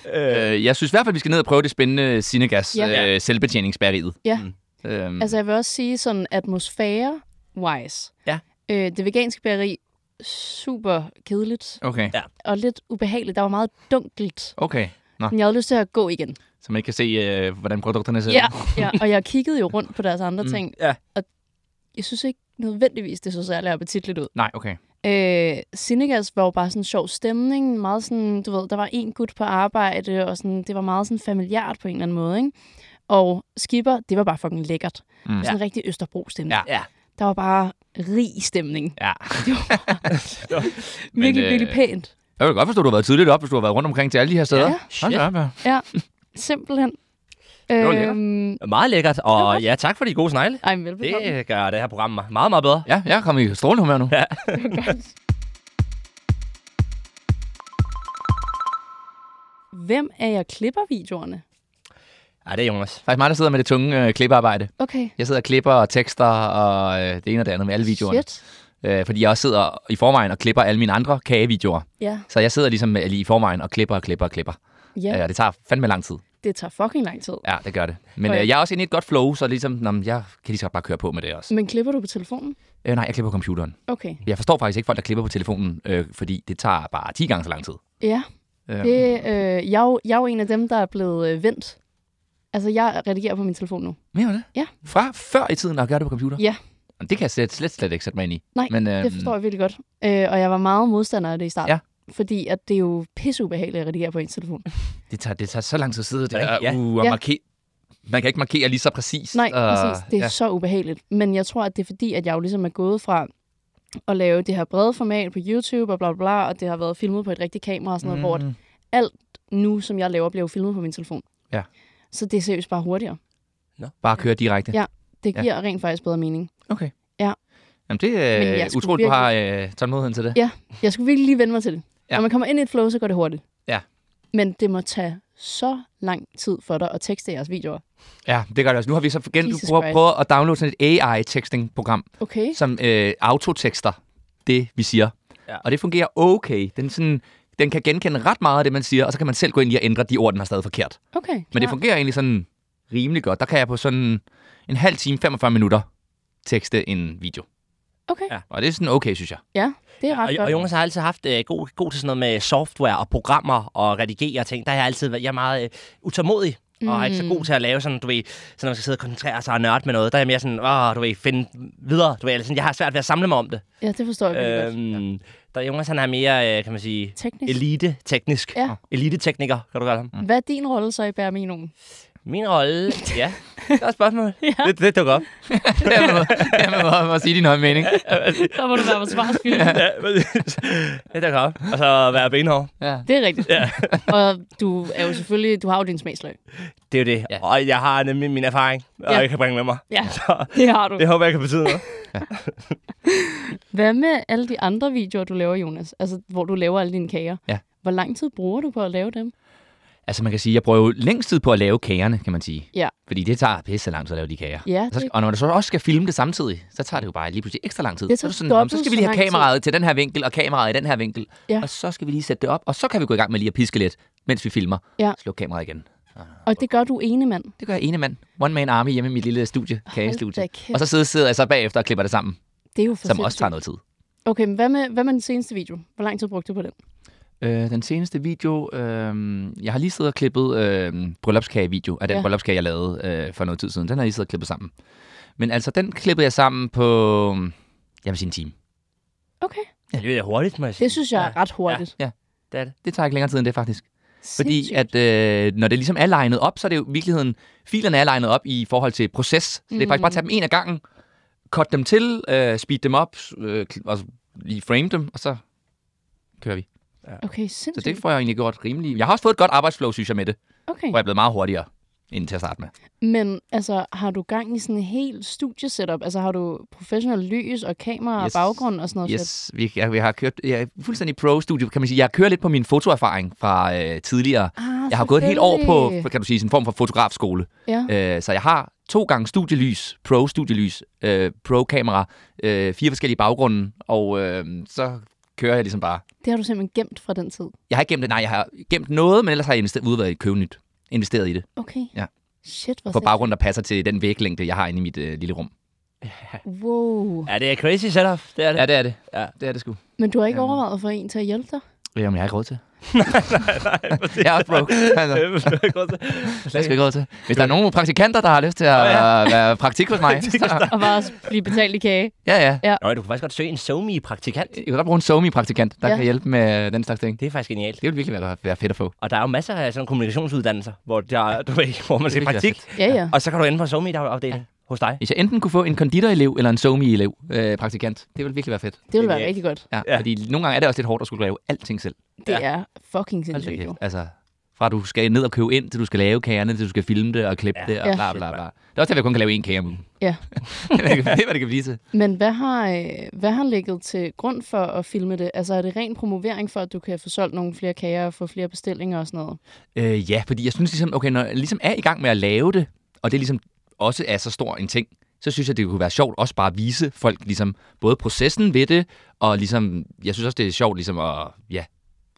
ja. øh, jeg synes i hvert fald, vi skal ned og prøve det spændende Sinegas
Ja.
øh, selvbetjeningsbatteriet.
Ja.
Øhm,
Altså, jeg vil også sige sådan atmosfære-wise.
Ja.
Øh, det veganske bageri, super kedeligt
okay,
Ja.
og lidt ubehageligt. Der var meget dunkelt.
okay. Nå,
Men jeg havde lyst til at gå igen.
så man ikke kan se, øh, hvordan produkterne ser
Ja,
ud.
ja, og jeg kiggede jo rundt på deres andre ting.
ja.
Og jeg synes ikke nødvendigvis, det så særlig appetitligt ud.
Nej, okay.
Øh, Sinegas var jo bare sådan en sjov stemning, meget sådan, du ved, der var en gut på arbejde, og sådan, det var meget sådan familiært på en eller anden måde, ikke? Og Skipper, det var bare fucking lækkert. Mm. Sådan en rigtig Østerbro stemning.
Ja.
Ja.
Der var bare rig stemning.
Ja.
Virkelig,
øh,
virkelig pænt.
Jeg vil godt forstå, at du har været tidligt op, hvis du har været rundt omkring til alle de her steder.
Ja.
Hold da op, ja.
Ja, simpelthen.
var lækkert.
Øhm,
Meget lækkert, og ja, tak for de gode snegle.
ej, men velbekomme.
Det gør det her program meget, meget bedre.
ja, jeg er kommet i strålende humør nu. Ja.
Hvem er jeg klipper videoerne?
Ej, det er Jonas.
Faktisk mig, der sidder med det tunge øh, klippearbejde.
Okay.
Jeg sidder og klipper og tekster og øh, det ene og det andet med alle videoerne.
Shit.
Øh, fordi jeg også sidder i forvejen og klipper alle mine andre kagevideoer.
Ja.
Så jeg sidder ligesom øh, lige i forvejen og klipper og klipper og klipper.
ja.
Øh, og det tager fandme lang tid.
Det tager fucking lang tid.
Ja, det gør det. Men
Okay.
øh, jeg er også inde i et godt flow, så ligesom, nå, men jeg kan lige så godt bare køre på med det også.
Men klipper du på telefonen?
Øh, nej, jeg klipper på computeren.
Okay.
Jeg forstår faktisk ikke folk, der klipper på telefonen, øh, fordi det tager bare 10 gange så lang tid.
Ja.
Øh,
Det, øh, jeg, er jo, jeg er jo en af dem, der er blevet øh, vendt. Altså, jeg redigerer på min telefon nu.
Mener du det?
Ja.
Fra før i tiden at gøre det på computer?
Ja.
Jamen, Det kan jeg slet, slet, slet ikke sætte mig ind i.
Nej,
Men, øh,
Det forstår jeg virkelig godt. Øh, og jeg var meget modstander af det i starten.
Ja.
Fordi at det er jo pisseubehageligt at redigere på ens telefon.
Det tager, det tager så lang tid at sidde der
Rigtigt, ja.
ja. uh, og
Ja.
markere. Man kan ikke markere lige så præcist.
Nej,
og,
præcis. Det er ja.
ja.
så ubehageligt. Men jeg tror, at det er fordi, at jeg jo ligesom er gået fra at lave det her brede format på YouTube og bla bla bla, og det har været filmet på et rigtigt kamera og sådan noget, mm. hvor at alt nu, som jeg laver, bliver jo filmet på min telefon.
Ja.
Så det er seriøst bare hurtigere.
Bare køre direkte.
Ja. Det
Ja.
giver ja. rent faktisk bedre mening.
Okay.
Ja.
Jamen, det
Men
er
jeg
øh,
skulle
utroligt, du har øh, tålmodigheden til det.
Ja, jeg skulle virkelig lige vende mig til det.
Ja.
Ja. Når man kommer ind i et flow, så går det hurtigt.
Ja.
Men det må tage så lang tid for dig at tekste jeres videoer.
Ja, det gør det også. Nu har vi så igen
Jesus
prøver,
Christ.
prøver at downloade sådan et AI-texting-program,
Okay.
som øh, autotekster det, vi siger.
Ja.
Og det fungerer okay. Den, sådan, den kan genkende ret meget af det, man siger, og så kan man selv gå ind i og ændre de ord, den har stadig forkert.
Okay.
Men det
klart.
fungerer egentlig sådan rimelig godt. Der kan jeg på sådan en halv time, 45 minutter, tekste en video.
Okay.
Ja.
Ja.
Og det er sådan okay, synes jeg.
Det er ret
Og,
godt.
og Jonas har altid haft øh, god, god til sådan noget med software og programmer og redigere og ting. Der har jeg altid været jeg er meget øh, utålmodig. Mm. Og er ikke så god til at lave sådan, du ved, sådan, når man skal sidde og koncentrere sig og nørde med noget. Der er jeg mere sådan, åh, du ved, finde videre. Du ved, eller sådan, jeg har svært ved at samle mig om det.
Ja, det forstår jeg virkelig godt.
Øhm, Der Jonas, han er mere, øh, kan man sige,
Teknisk.
elite-teknisk.
Ja. Mm.
Elite-tekniker, kan du kalde ham.
Øhm.
Hvad er din rolle så i Bærminoen?
Min rolle, ja. Det er et spørgsmål. ja. det, det dukker op.
Det er med, det er med at- at sige din høje mening.
Der må du være forsvarsfyldt. ja.
ja, præcis. det dukker op. Og så være benhård.
Det er rigtigt. Ja. og du er jo selvfølgelig, du har jo din smagsløg.
Det er jo det.
Ja.
Ja. Og jeg har nemlig min erfaring, og
Ja.
jeg kan bringe med mig.
Ja,
Så
det har du.
det håber jeg kan betyde noget.
Hvad med alle de andre videoer, du laver, Jonas? Altså, hvor du laver alle dine kager.
Ja.
Hvor lang tid bruger du på at lave dem?
Altså man kan sige, jeg bruger jo længst tid på at lave kagerne, kan man sige.
Ja.
Fordi det tager pisse lang tid at lave de kager.
Ja,
Og så,
det-
og når man så også skal filme det samtidig, så tager det jo bare lige pludselig ekstra lang tid.
Det
så, er
tager
det sådan, "Nå, men så
dobbelt
skal vi
så
lige have
lang tid."
kameraet til den her vinkel, og kameraet i den her vinkel.
Ja.
Og så skal vi lige sætte det op, og så kan vi gå i gang med lige at piske lidt, mens vi filmer.
Ja.
Slå kameraet igen.
Og det gør du ene mand.
Det gør jeg ene mand. One man army hjemme i mit lille studie,
da
kagestudie.
kæft.
Og så sidder, sidder jeg så bagefter og klipper det sammen,
Det er jo for
som også
sindssygt.
tager noget tid.
Okay, men hvad med, hvad med den seneste video? Hvor lang tid brugte du på den?
Øh, den seneste video, øh, jeg har lige siddet og klippet øh, bryllupskage-video af den ja.
Ja.
bryllupskage, jeg lavede øh, for noget tid siden. Den har jeg lige siddet og klippet sammen. Men altså, den klippede jeg sammen på, øh, jeg vil sige en time.
Okay.
Ja, det er hurtigt, må jeg sige.
Det synes jeg er ret hurtigt.
Det, er det. det tager ikke længere tid end det, faktisk. Fordi
Sindssygt.
at øh, når det ligesom er legnet op, så er det jo i virkeligheden, filerne er legnet op i forhold til proces. Så det er faktisk bare at tage
Mm.
dem en af gangen, cut dem til, øh, speed dem op, øh, kl- og lige frame dem, og så kører vi.
Okay,
Så
sindssygt.
det får jeg egentlig gjort rimelig. Jeg har også fået et godt arbejdsflow, synes jeg, med det.
Okay.
hvor jeg er blevet meget hurtigere end til at starte med.
Men altså, har du gang i sådan en helt studiesetup? Altså, har du professionel lys og kamera
Yes.
yes. og baggrund og sådan noget? fedt?
Yes, vi, jeg, jeg har kørt jeg er fuldstændig pro-studio, kan man sige. Jeg kører lidt på min fotoerfaring fra øh, tidligere.
Ah,
Jeg har gået et helt år
selvfølgelig. Mm.
på, kan du sige, sådan en form for fotografskole.
Ja.
Øh, så jeg har to gange studielys, pro-studielys, øh, pro-kamera, øh, fire forskellige baggrunde, og øh, så kører jeg ligesom bare.
Det har du simpelthen gemt fra den tid.
Jeg har ikke gemt det, nej, jeg har gemt noget, men ellers har jeg investeret, ude været i købe nyt. Investeret i det,
Okay.
Ja.
Shit, hvor
på
sindssygt.
baggrund, der passer til den væglængde, jeg har inde i mit øh, lille rum.
Wow.
Ja, det er crazy setup. Det er det.
Ja, det er det.
Ja.
det er det sgu.
Men du har ikke overvejet at få en til at hjælpe dig?
Jamen, jeg har ikke råd til. Jeg er også broke. Altså. Det skal ikke råd til. Hvis der er nogen praktikanter, der har lyst til at ja. være praktik hos mig, så,
Og bare blive betalt i kage.
ja, ja.
Nå, du kan faktisk godt søge en SoMe-praktikant.
Jeg kan godt bruge en somi-praktikant, der ja.
Ja.
kan hjælpe med den slags ting.
Det er faktisk genialt.
Det ville virkelig være, være fedt at få.
Og der er jo masser af sådan kommunikationsuddannelser, hvor, der, du ved, hvor man
Det
skal
er
praktik.
Ja, ja.
Og så kan du ende på SoMe-afdelingen ja. hos dig.
Hvis jeg enten kunne få en konditorelev eller en somi-elev øh, praktikant, det ville virkelig være fedt.
Det ville være
genialt.
rigtig godt.
Ja, ja.
Ja.
Fordi nogle gange er det også lidt hårdt at skulle lave alting selv.
Det er fucking
Hold da
sindssygt
kæft.
jo.
Altså, Fra du skal ned og købe ind, til du skal lave kagerne, til du skal filme det og klippe ja. det og
Ja.
bla bla bla. Det er også derfor, jeg kun kan lave én kage om ugen.
Ja.
det er, hvad det kan blive til.
Men hvad har, øh, hvad har ligget til grund for at filme det? Altså er det ren promovering for, at du kan få solgt nogle flere kager og få flere bestillinger og sådan noget?
Øh, ja, fordi jeg synes ligesom, okay, når jeg ligesom er i gang med at lave det, og det ligesom også er så stor en ting, så synes jeg, det kunne være sjovt også bare at vise folk ligesom både processen ved det, og ligesom, jeg synes også, det er sjovt ligesom at, ja,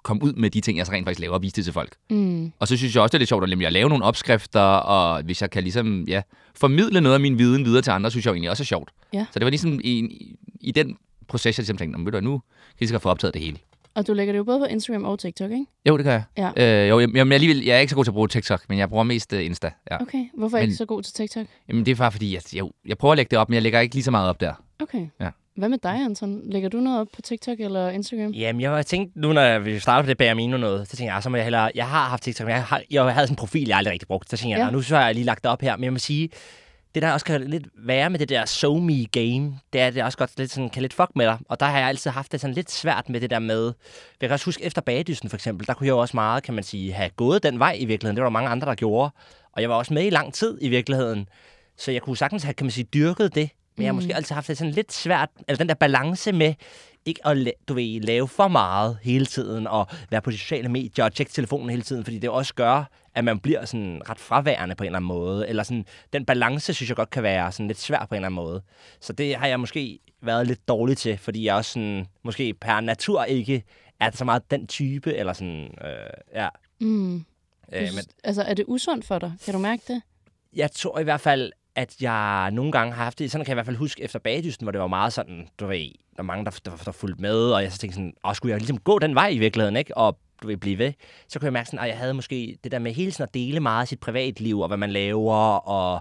komme ud med de ting, jeg så rent faktisk laver og vise det til folk.
Mm.
Og så synes jeg også, det er lidt sjovt at nemlig at lave nogle opskrifter, og hvis jeg kan ligesom, ja, formidle noget af min viden videre til andre, synes jeg jo egentlig også er sjovt.
Ja.
Så det var ligesom i, i den proces, jeg ligesom tænkte, "Nå, men ved du, hvad, nu kan jeg lige så godt få optaget det hele.
Og du lægger det jo både på Instagram og TikTok, ikke?
Jo, det gør jeg.
Ja.
Øh, jo, jeg, jeg, alligevel, jeg er ikke så god til at bruge TikTok, men jeg bruger mest uh, Insta. Ja. Okay.
Okay, hvorfor er
Men-
ikke så god til TikTok?
Jamen, det er bare fordi, at jeg, jeg prøver at lægge det op, men jeg lægger ikke lige så meget op der.
Okay.
Ja.
Hvad med dig, Anton? Lægger du noget op på TikTok eller Instagram?
Jamen, jeg har tænkt, nu når vi starter på det Bæremino noget, så tænker jeg, "Ah, så må jeg hellere, jeg har haft TikTok, men jeg, har, jeg havde sådan en profil, jeg aldrig rigtig brugt. Så tænker jeg,
Ja.
ja. nu så har jeg lige lagt det op her, men jeg må sige, det der også kan lidt være med det der so me game, det er, at det også godt lidt sådan, kan lidt fuck med dig. Og der har jeg altid haft det sådan lidt svært med det der med, jeg kan også huske efter bagdysten for eksempel, der kunne jeg jo også meget, kan man sige, have gået den vej i virkeligheden. Det var der mange andre, der gjorde. Og jeg var også med i lang tid i virkeligheden. Så jeg kunne sagtens have, kan man sige, dyrket det. Men jeg har måske altid haft det sådan lidt svært, eller den der balance med, ikke at la- du ved, lave for meget hele tiden, og være på de sociale medier og tjekke telefonen hele tiden, fordi det også gør, at man bliver sådan ret fraværende på en eller anden måde. Eller sådan, den balance, synes jeg godt kan være sådan lidt svær på en eller anden måde. Så det har jeg måske været lidt dårlig til, fordi jeg også sådan, måske per natur ikke er så meget den type, eller sådan, øh, ja.
Mm.
Øh, men
Altså, er det usundt for dig? Kan du mærke det?
jeg tror i hvert fald, at jeg nogle gange har haft det. Sådan kan jeg i hvert fald huske efter bagdysten, hvor det var meget sådan, du ved, der var mange, der, der, der fulgte med, og jeg så tænkte sådan, åh, skulle jeg ligesom gå den vej i virkeligheden, ikke? Og du vil blive ved. Så kunne jeg mærke sådan, at jeg havde måske det der med hele tiden at dele meget af sit privatliv, og hvad man laver, og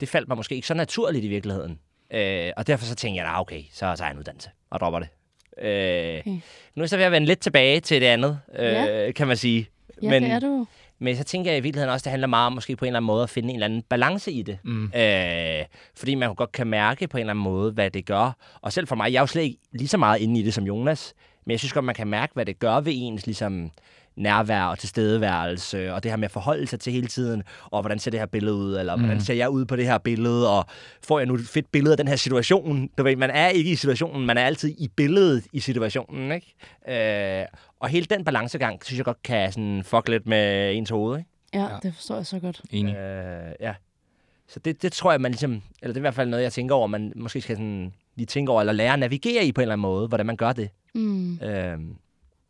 det faldt mig måske ikke så naturligt i virkeligheden. Øh, og derfor så tænkte jeg, ah, okay, så tager jeg en uddannelse og dropper det. Øh, okay. Nu er jeg så ved at vende lidt tilbage til det andet, øh,
Ja.
ja. kan man sige.
Ja,
Men-
det er du.
men så tænker jeg i virkeligheden også, det handler meget om måske på en eller anden måde at finde en eller anden balance i det. Mm. Øh, fordi man jo godt kan mærke på en eller anden måde, hvad det gør. Og selv for mig, jeg er jo slet ikke lige så meget inde i det som Jonas. Men jeg synes godt, man kan mærke, hvad det gør ved ens ligesom, nærvær og tilstedeværelse. Og det her med at forholde sig til hele tiden. Og hvordan ser det her billede ud? Eller mm. hvordan ser jeg ud på det her billede? Og får jeg nu et fedt billede af den her situation? Du ved, man er ikke i situationen. Man er altid i billedet i situationen. Ikke? Øh, og hele den balancegang, synes jeg godt kan sådan, fuck lidt med ens hoved. Ikke?
Ja, ja, det forstår jeg så godt.
Enig.
Øh, ja. Så det, det tror jeg, man ligesom, eller det er i hvert fald noget, jeg tænker over, man måske skal sådan lige tænke over, eller lære at navigere i på en eller anden måde, hvordan man gør det.
Mm.
Øh,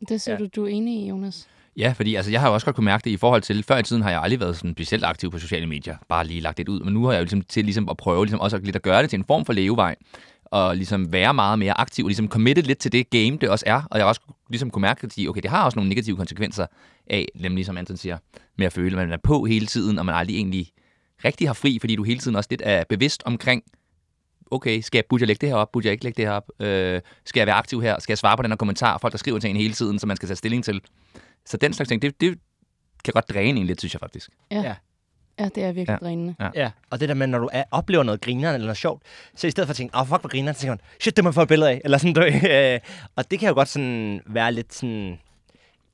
Det ser ja.
Ja.
du, du er enig i, Jonas.
Ja, fordi altså, jeg har jo også godt kunne mærke det i forhold til, før i tiden har jeg aldrig været sådan specielt aktiv på sociale medier, bare lige lagt det ud, men nu har jeg jo ligesom til ligesom at prøve ligesom også lidt at gøre det til en form for levevej, og ligesom være meget mere aktiv, og ligesom committed lidt til det game, det også er, og jeg har også ligesom kunne mærke, at sige, okay, det har også nogle negative konsekvenser af, nemlig som Anton siger, med at føle, at man er på hele tiden, og man aldrig egentlig rigtig har fri, fordi du hele tiden også lidt er bevidst omkring, okay, skal jeg, burde jeg lægge det her op, burde jeg ikke lægge det her op, øh, skal jeg være aktiv her, skal jeg svare på den her kommentar, folk der skriver til en hele tiden, som man skal tage stilling til. Så den slags ting, det, det kan godt dræne en lidt, synes jeg faktisk.
Ja, det er virkelig ja. drænende.
ja. Og det der med, når du er, oplever noget grineren eller noget sjovt, så i stedet for at tænke, åh, oh, fuck, hvor grineren, så tænker man, shit, det må jeg få et billede af, eller sådan, du, ved, øh, og det kan jo godt sådan være lidt sådan,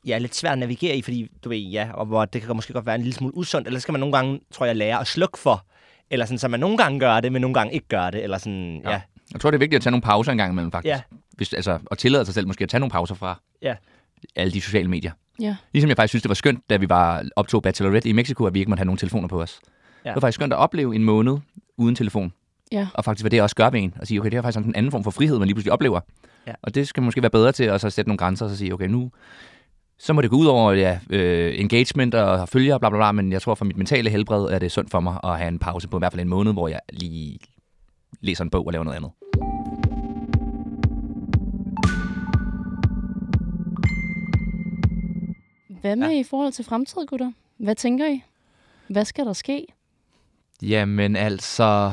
ja, lidt svært at navigere i, fordi du ved, ja, og hvor det kan måske godt være en lille smule usundt, eller så skal man nogle gange, tror jeg, lære at slukke for, eller sådan, så man nogle gange gør det, men nogle gange ikke gør det, eller sådan, ja. ja.
Jeg tror, det er vigtigt at tage nogle pauser en gang imellem, faktisk.
Ja.
Hvis, altså, og tillade sig selv måske at tage nogle pauser fra
Ja.
alle de sociale medier.
Ja.
Ligesom jeg faktisk synes, det var skønt, da vi var optog Bachelorette i Mexico, at vi ikke måtte have nogen telefoner på os. Ja.
Ja.
Det var faktisk skønt at opleve en måned uden telefon.
Ja.
Og faktisk, hvad det også gør ved en. Og sige, okay, det er faktisk sådan en anden form for frihed, man lige pludselig oplever.
Ja.
Og det skal man måske være bedre til, at så sætte nogle grænser og så sige, okay, nu så må det gå ud over ja, øh, engagement og følgere, bla, bla, bla, men jeg tror for mit mentale helbred, er det sundt for mig at have en pause på i hvert fald en måned, hvor jeg lige læser en bog og laver noget andet.
Hvad med ja. i forhold til fremtid, gutter? Hvad tænker I? Hvad skal der ske?
Jamen altså,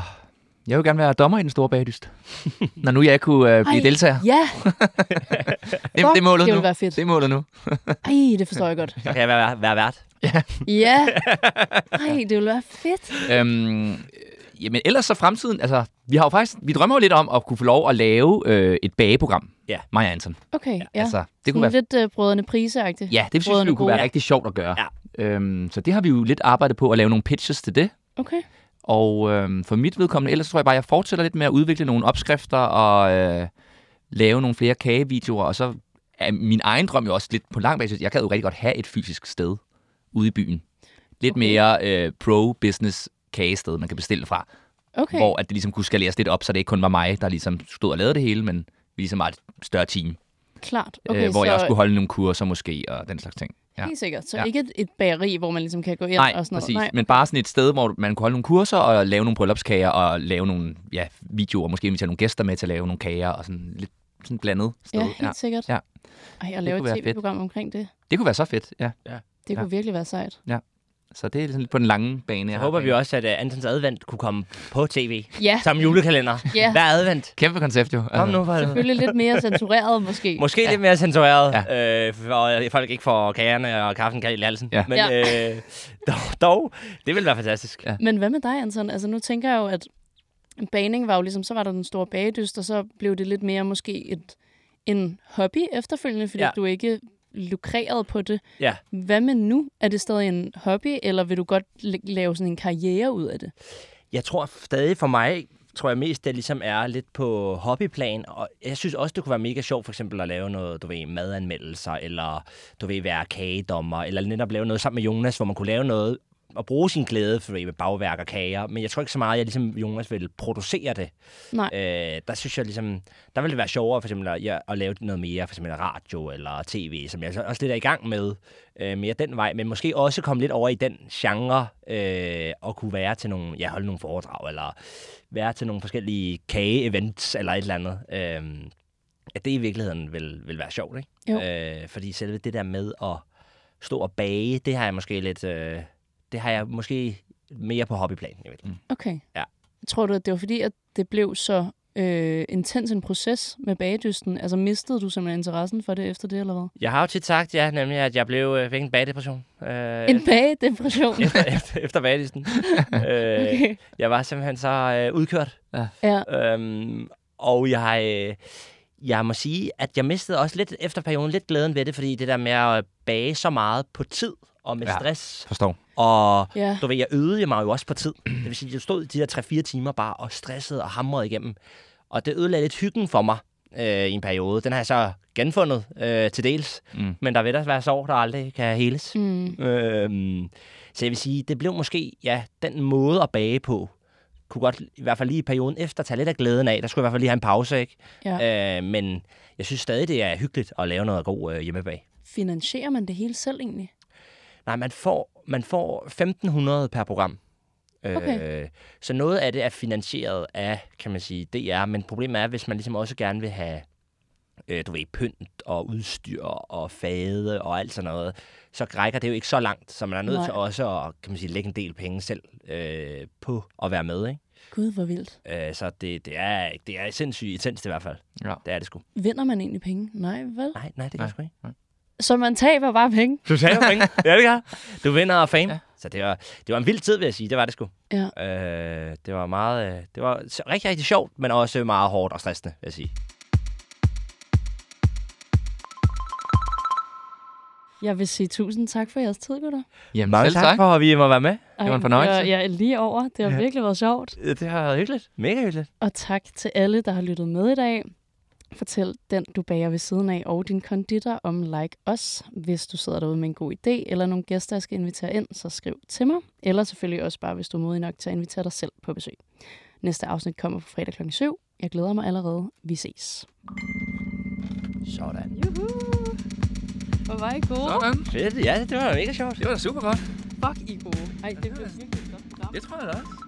jeg vil gerne være dommer i den store bagdyst. Når nu jeg kunne øh, blive
Ej,
deltager.
Ja!
Det, det er målet
det
nu.
ville være fedt.
Det er målet nu.
Ej, det forstår jeg godt.
Så kan jeg være, være vært.
Ja! Ej, det ville være fedt.
Øhm, øh, jamen ellers så fremtiden, altså Vi har jo faktisk, vi drømmer jo lidt om at kunne få lov at lave øh, et bageprogram.
Ja.
Mig og Anton.
Okay, ja.
Altså,
Altså,
det
det
kunne være,
Lidt øh, brødrene priseagtigt.
ja, det synes vi
Brødrene
jo kunne være
Gode.
rigtig sjovt at gøre. Ja. Øhm, så det har vi jo lidt arbejdet på at lave nogle pitches til det.
Okay.
Og øhm, for mit vedkommende, ellers tror jeg bare, at jeg fortsætter lidt med at udvikle nogle opskrifter og øh, lave nogle flere kagevideoer. Og så er min egen drøm jo også lidt på lang basis. Jeg kan jo rigtig godt have et fysisk sted ude i byen. Lidt okay. mere øh, pro-business kagested, man kan bestille fra.
Okay.
Hvor at det ligesom kunne skaleres lidt op, så det ikke kun var mig, der ligesom stod og lavede det hele, men vi ligesom var et større team.
Klart. Okay,
Okay, øh, hvor
så
jeg også skulle holde nogle kurser måske og den slags ting. Ja.
Helt sikkert. Så
Ja.
ja. ikke et, et bageri, hvor man ligesom kan gå ind
Nej,
og sådan noget.
præcis.
Nej,
Men bare sådan et sted, hvor man kunne holde nogle kurser og lave nogle bryllupskager og lave nogle ja, videoer. Måske invitere nogle gæster med til at lave nogle kager og sådan lidt sådan blandet sted.
Ja, helt ja. sikkert.
Ja.
Ej, at lave
kunne
et
være fedt.
tv-program omkring det,
Det kunne være så fedt, ja.
det
Ja.
ja. kunne virkelig være sejt.
Så det er sådan lidt på den lange bane.
Jeg
Jeg
håber vi også, at uh, Antons advent kunne komme på tv.
Ja.
Som julekalender.
Ja.
Hver advent.
Kæmpe koncept jo. Altså,
Kom nu, for helvede.
Selvfølgelig lidt mere censureret måske.
Måske ja. lidt mere censureret, ja. øh, for at folk ikke får kagerne og kaffen kaldt i halsen.
Ja.
Men
Ja.
Øh, dog, dog, det ville være fantastisk.
Ja.
Men hvad med dig, Anton? Altså nu tænker jeg jo, at baning var jo ligesom, så var der den store bagedyst, og så blev det lidt mere måske et, en hobby efterfølgende, fordi
Ja.
ja. du ikke lukrerede på det.
Ja.
Hvad med nu? Er det stadig en hobby, eller vil du godt la- lave sådan en karriere ud af det?
Jeg tror stadig for mig, tror jeg mest, det ligesom er lidt på hobbyplan. Og jeg synes også, det kunne være mega sjovt for eksempel at lave noget, du ved, madanmeldelser, eller du ved, være kagedommer, eller netop lave noget sammen med Jonas, hvor man kunne lave noget og bruge sin glæde for du ved, med bagværk og kager. Men jeg tror ikke så meget, at jeg ligesom Jonas vil producere det.
Nej.
Øh, der synes jeg ligesom, der ville det være sjovere for eksempel at, ja, at lave noget mere, for eksempel radio eller tv, som jeg så også lidt er i gang med, øh, mere den vej, men måske også komme lidt over i den genre, øh, og kunne være til nogle, ja, holde nogle foredrag, eller være til nogle forskellige kage-events, eller et eller andet. Øh, at det i virkeligheden vil, vil være sjovt,
Jo.
ikke? Øh, fordi selve det der med at stå og bage, det har jeg måske lidt, øh, det har jeg måske mere på hobbyplan, jeg ved. Mm.
Okay.
Ja.
Tror du, at det var fordi, at det blev så øh, intens en proces med bagedysten? Altså mistede du simpelthen interessen for det efter det, eller hvad?
Jeg har jo tit sagt, ja, nemlig, at jeg blev, øh, fik en bagdepression. Øh,
En bagedepression?
efter, efter bagelisten. øh, okay.
Okay.
Jeg var simpelthen så øh, udkørt.
Ja,
Øhm, og jeg, øh, jeg må sige, at jeg mistede også lidt efter perioden lidt glæden ved det, fordi det der med at bage så meget på tid og med
Ja.
ja. stress.
Forstår.
Og
ja.
du ved, jeg øvede mig jo også på tid. Det vil sige, jeg stod de der 3-4 timer bare og stressede og hamrede igennem. Og det ødelagde lidt hyggen for mig øh, i en periode. Den har jeg så genfundet øh, til dels.
Mm.
Mm. Men der vil der være sorg, der aldrig kan heles.
Mm.
Øhm, så jeg vil sige, det blev måske, ja, den måde at bage på, kunne godt i hvert fald lige i perioden efter tage lidt af glæden af. Der skulle jeg i hvert fald lige have en pause, ikke?
ja.
Ja. Øh, men jeg synes stadig, det er hyggeligt at lave noget god øh, hjemmebag.
Finansierer man det hele selv egentlig?
Nej, man får, man får 1.500 per program.
Okay.
Øh, så noget af det er finansieret af, kan man sige, DR, men problemet er, hvis man ligesom også gerne vil have, øh, du ved, pynt og udstyr og fade og alt sådan noget, så rækker det jo ikke så langt, så man er nødt
Nej.
til også at, kan man sige, lægge en del penge selv øh, på at være med, ikke?
Gud, hvor vildt.
Øh, så det, det, er, det er sindssygt intenst i hvert fald.
Ja.
Det er det sgu.
Vinder man egentlig penge? Nej, vel?
Nej, nej, det kan jeg sgu ikke.
Så man taber bare penge?
Du tager penge. ja, det gør. Du vinder fame. Ja. Så det var, det var en vild tid, vil jeg sige. Det var det sgu.
Ja.
Øh, det var meget, øh, det var s- rigtig, rigtig sjovt, men også meget hårdt og stressende, vil jeg sige.
Jeg vil sige tusind tak for jeres tid, gutter.
Jamen, selv tak.
for, at vi må være med.
Ej,
Det var en fornøjelse.
Jeg, jeg er lige over. Det har ja. virkelig været sjovt.
Det har hyggeligt. Mega hyggeligt.
Og tak til alle, der har lyttet med i dag. Fortæl den, du bager ved siden af, og din konditor om Like Us. Hvis du sidder derude med en god idé, eller nogle gæster, jeg skal invitere ind, så skriv til mig. Eller selvfølgelig også bare, hvis du er modig nok til at invitere dig selv på besøg. Næste afsnit kommer på fredag kl. 7. Jeg glæder mig allerede. Vi ses.
Sådan.
Hvor var I gode?
Sådan.
Fedt. Ja, det var mega sjovt.
Det var da super godt.
Fuck, I gode. Ej, det blev virkelig godt program.
Det tror jeg da også.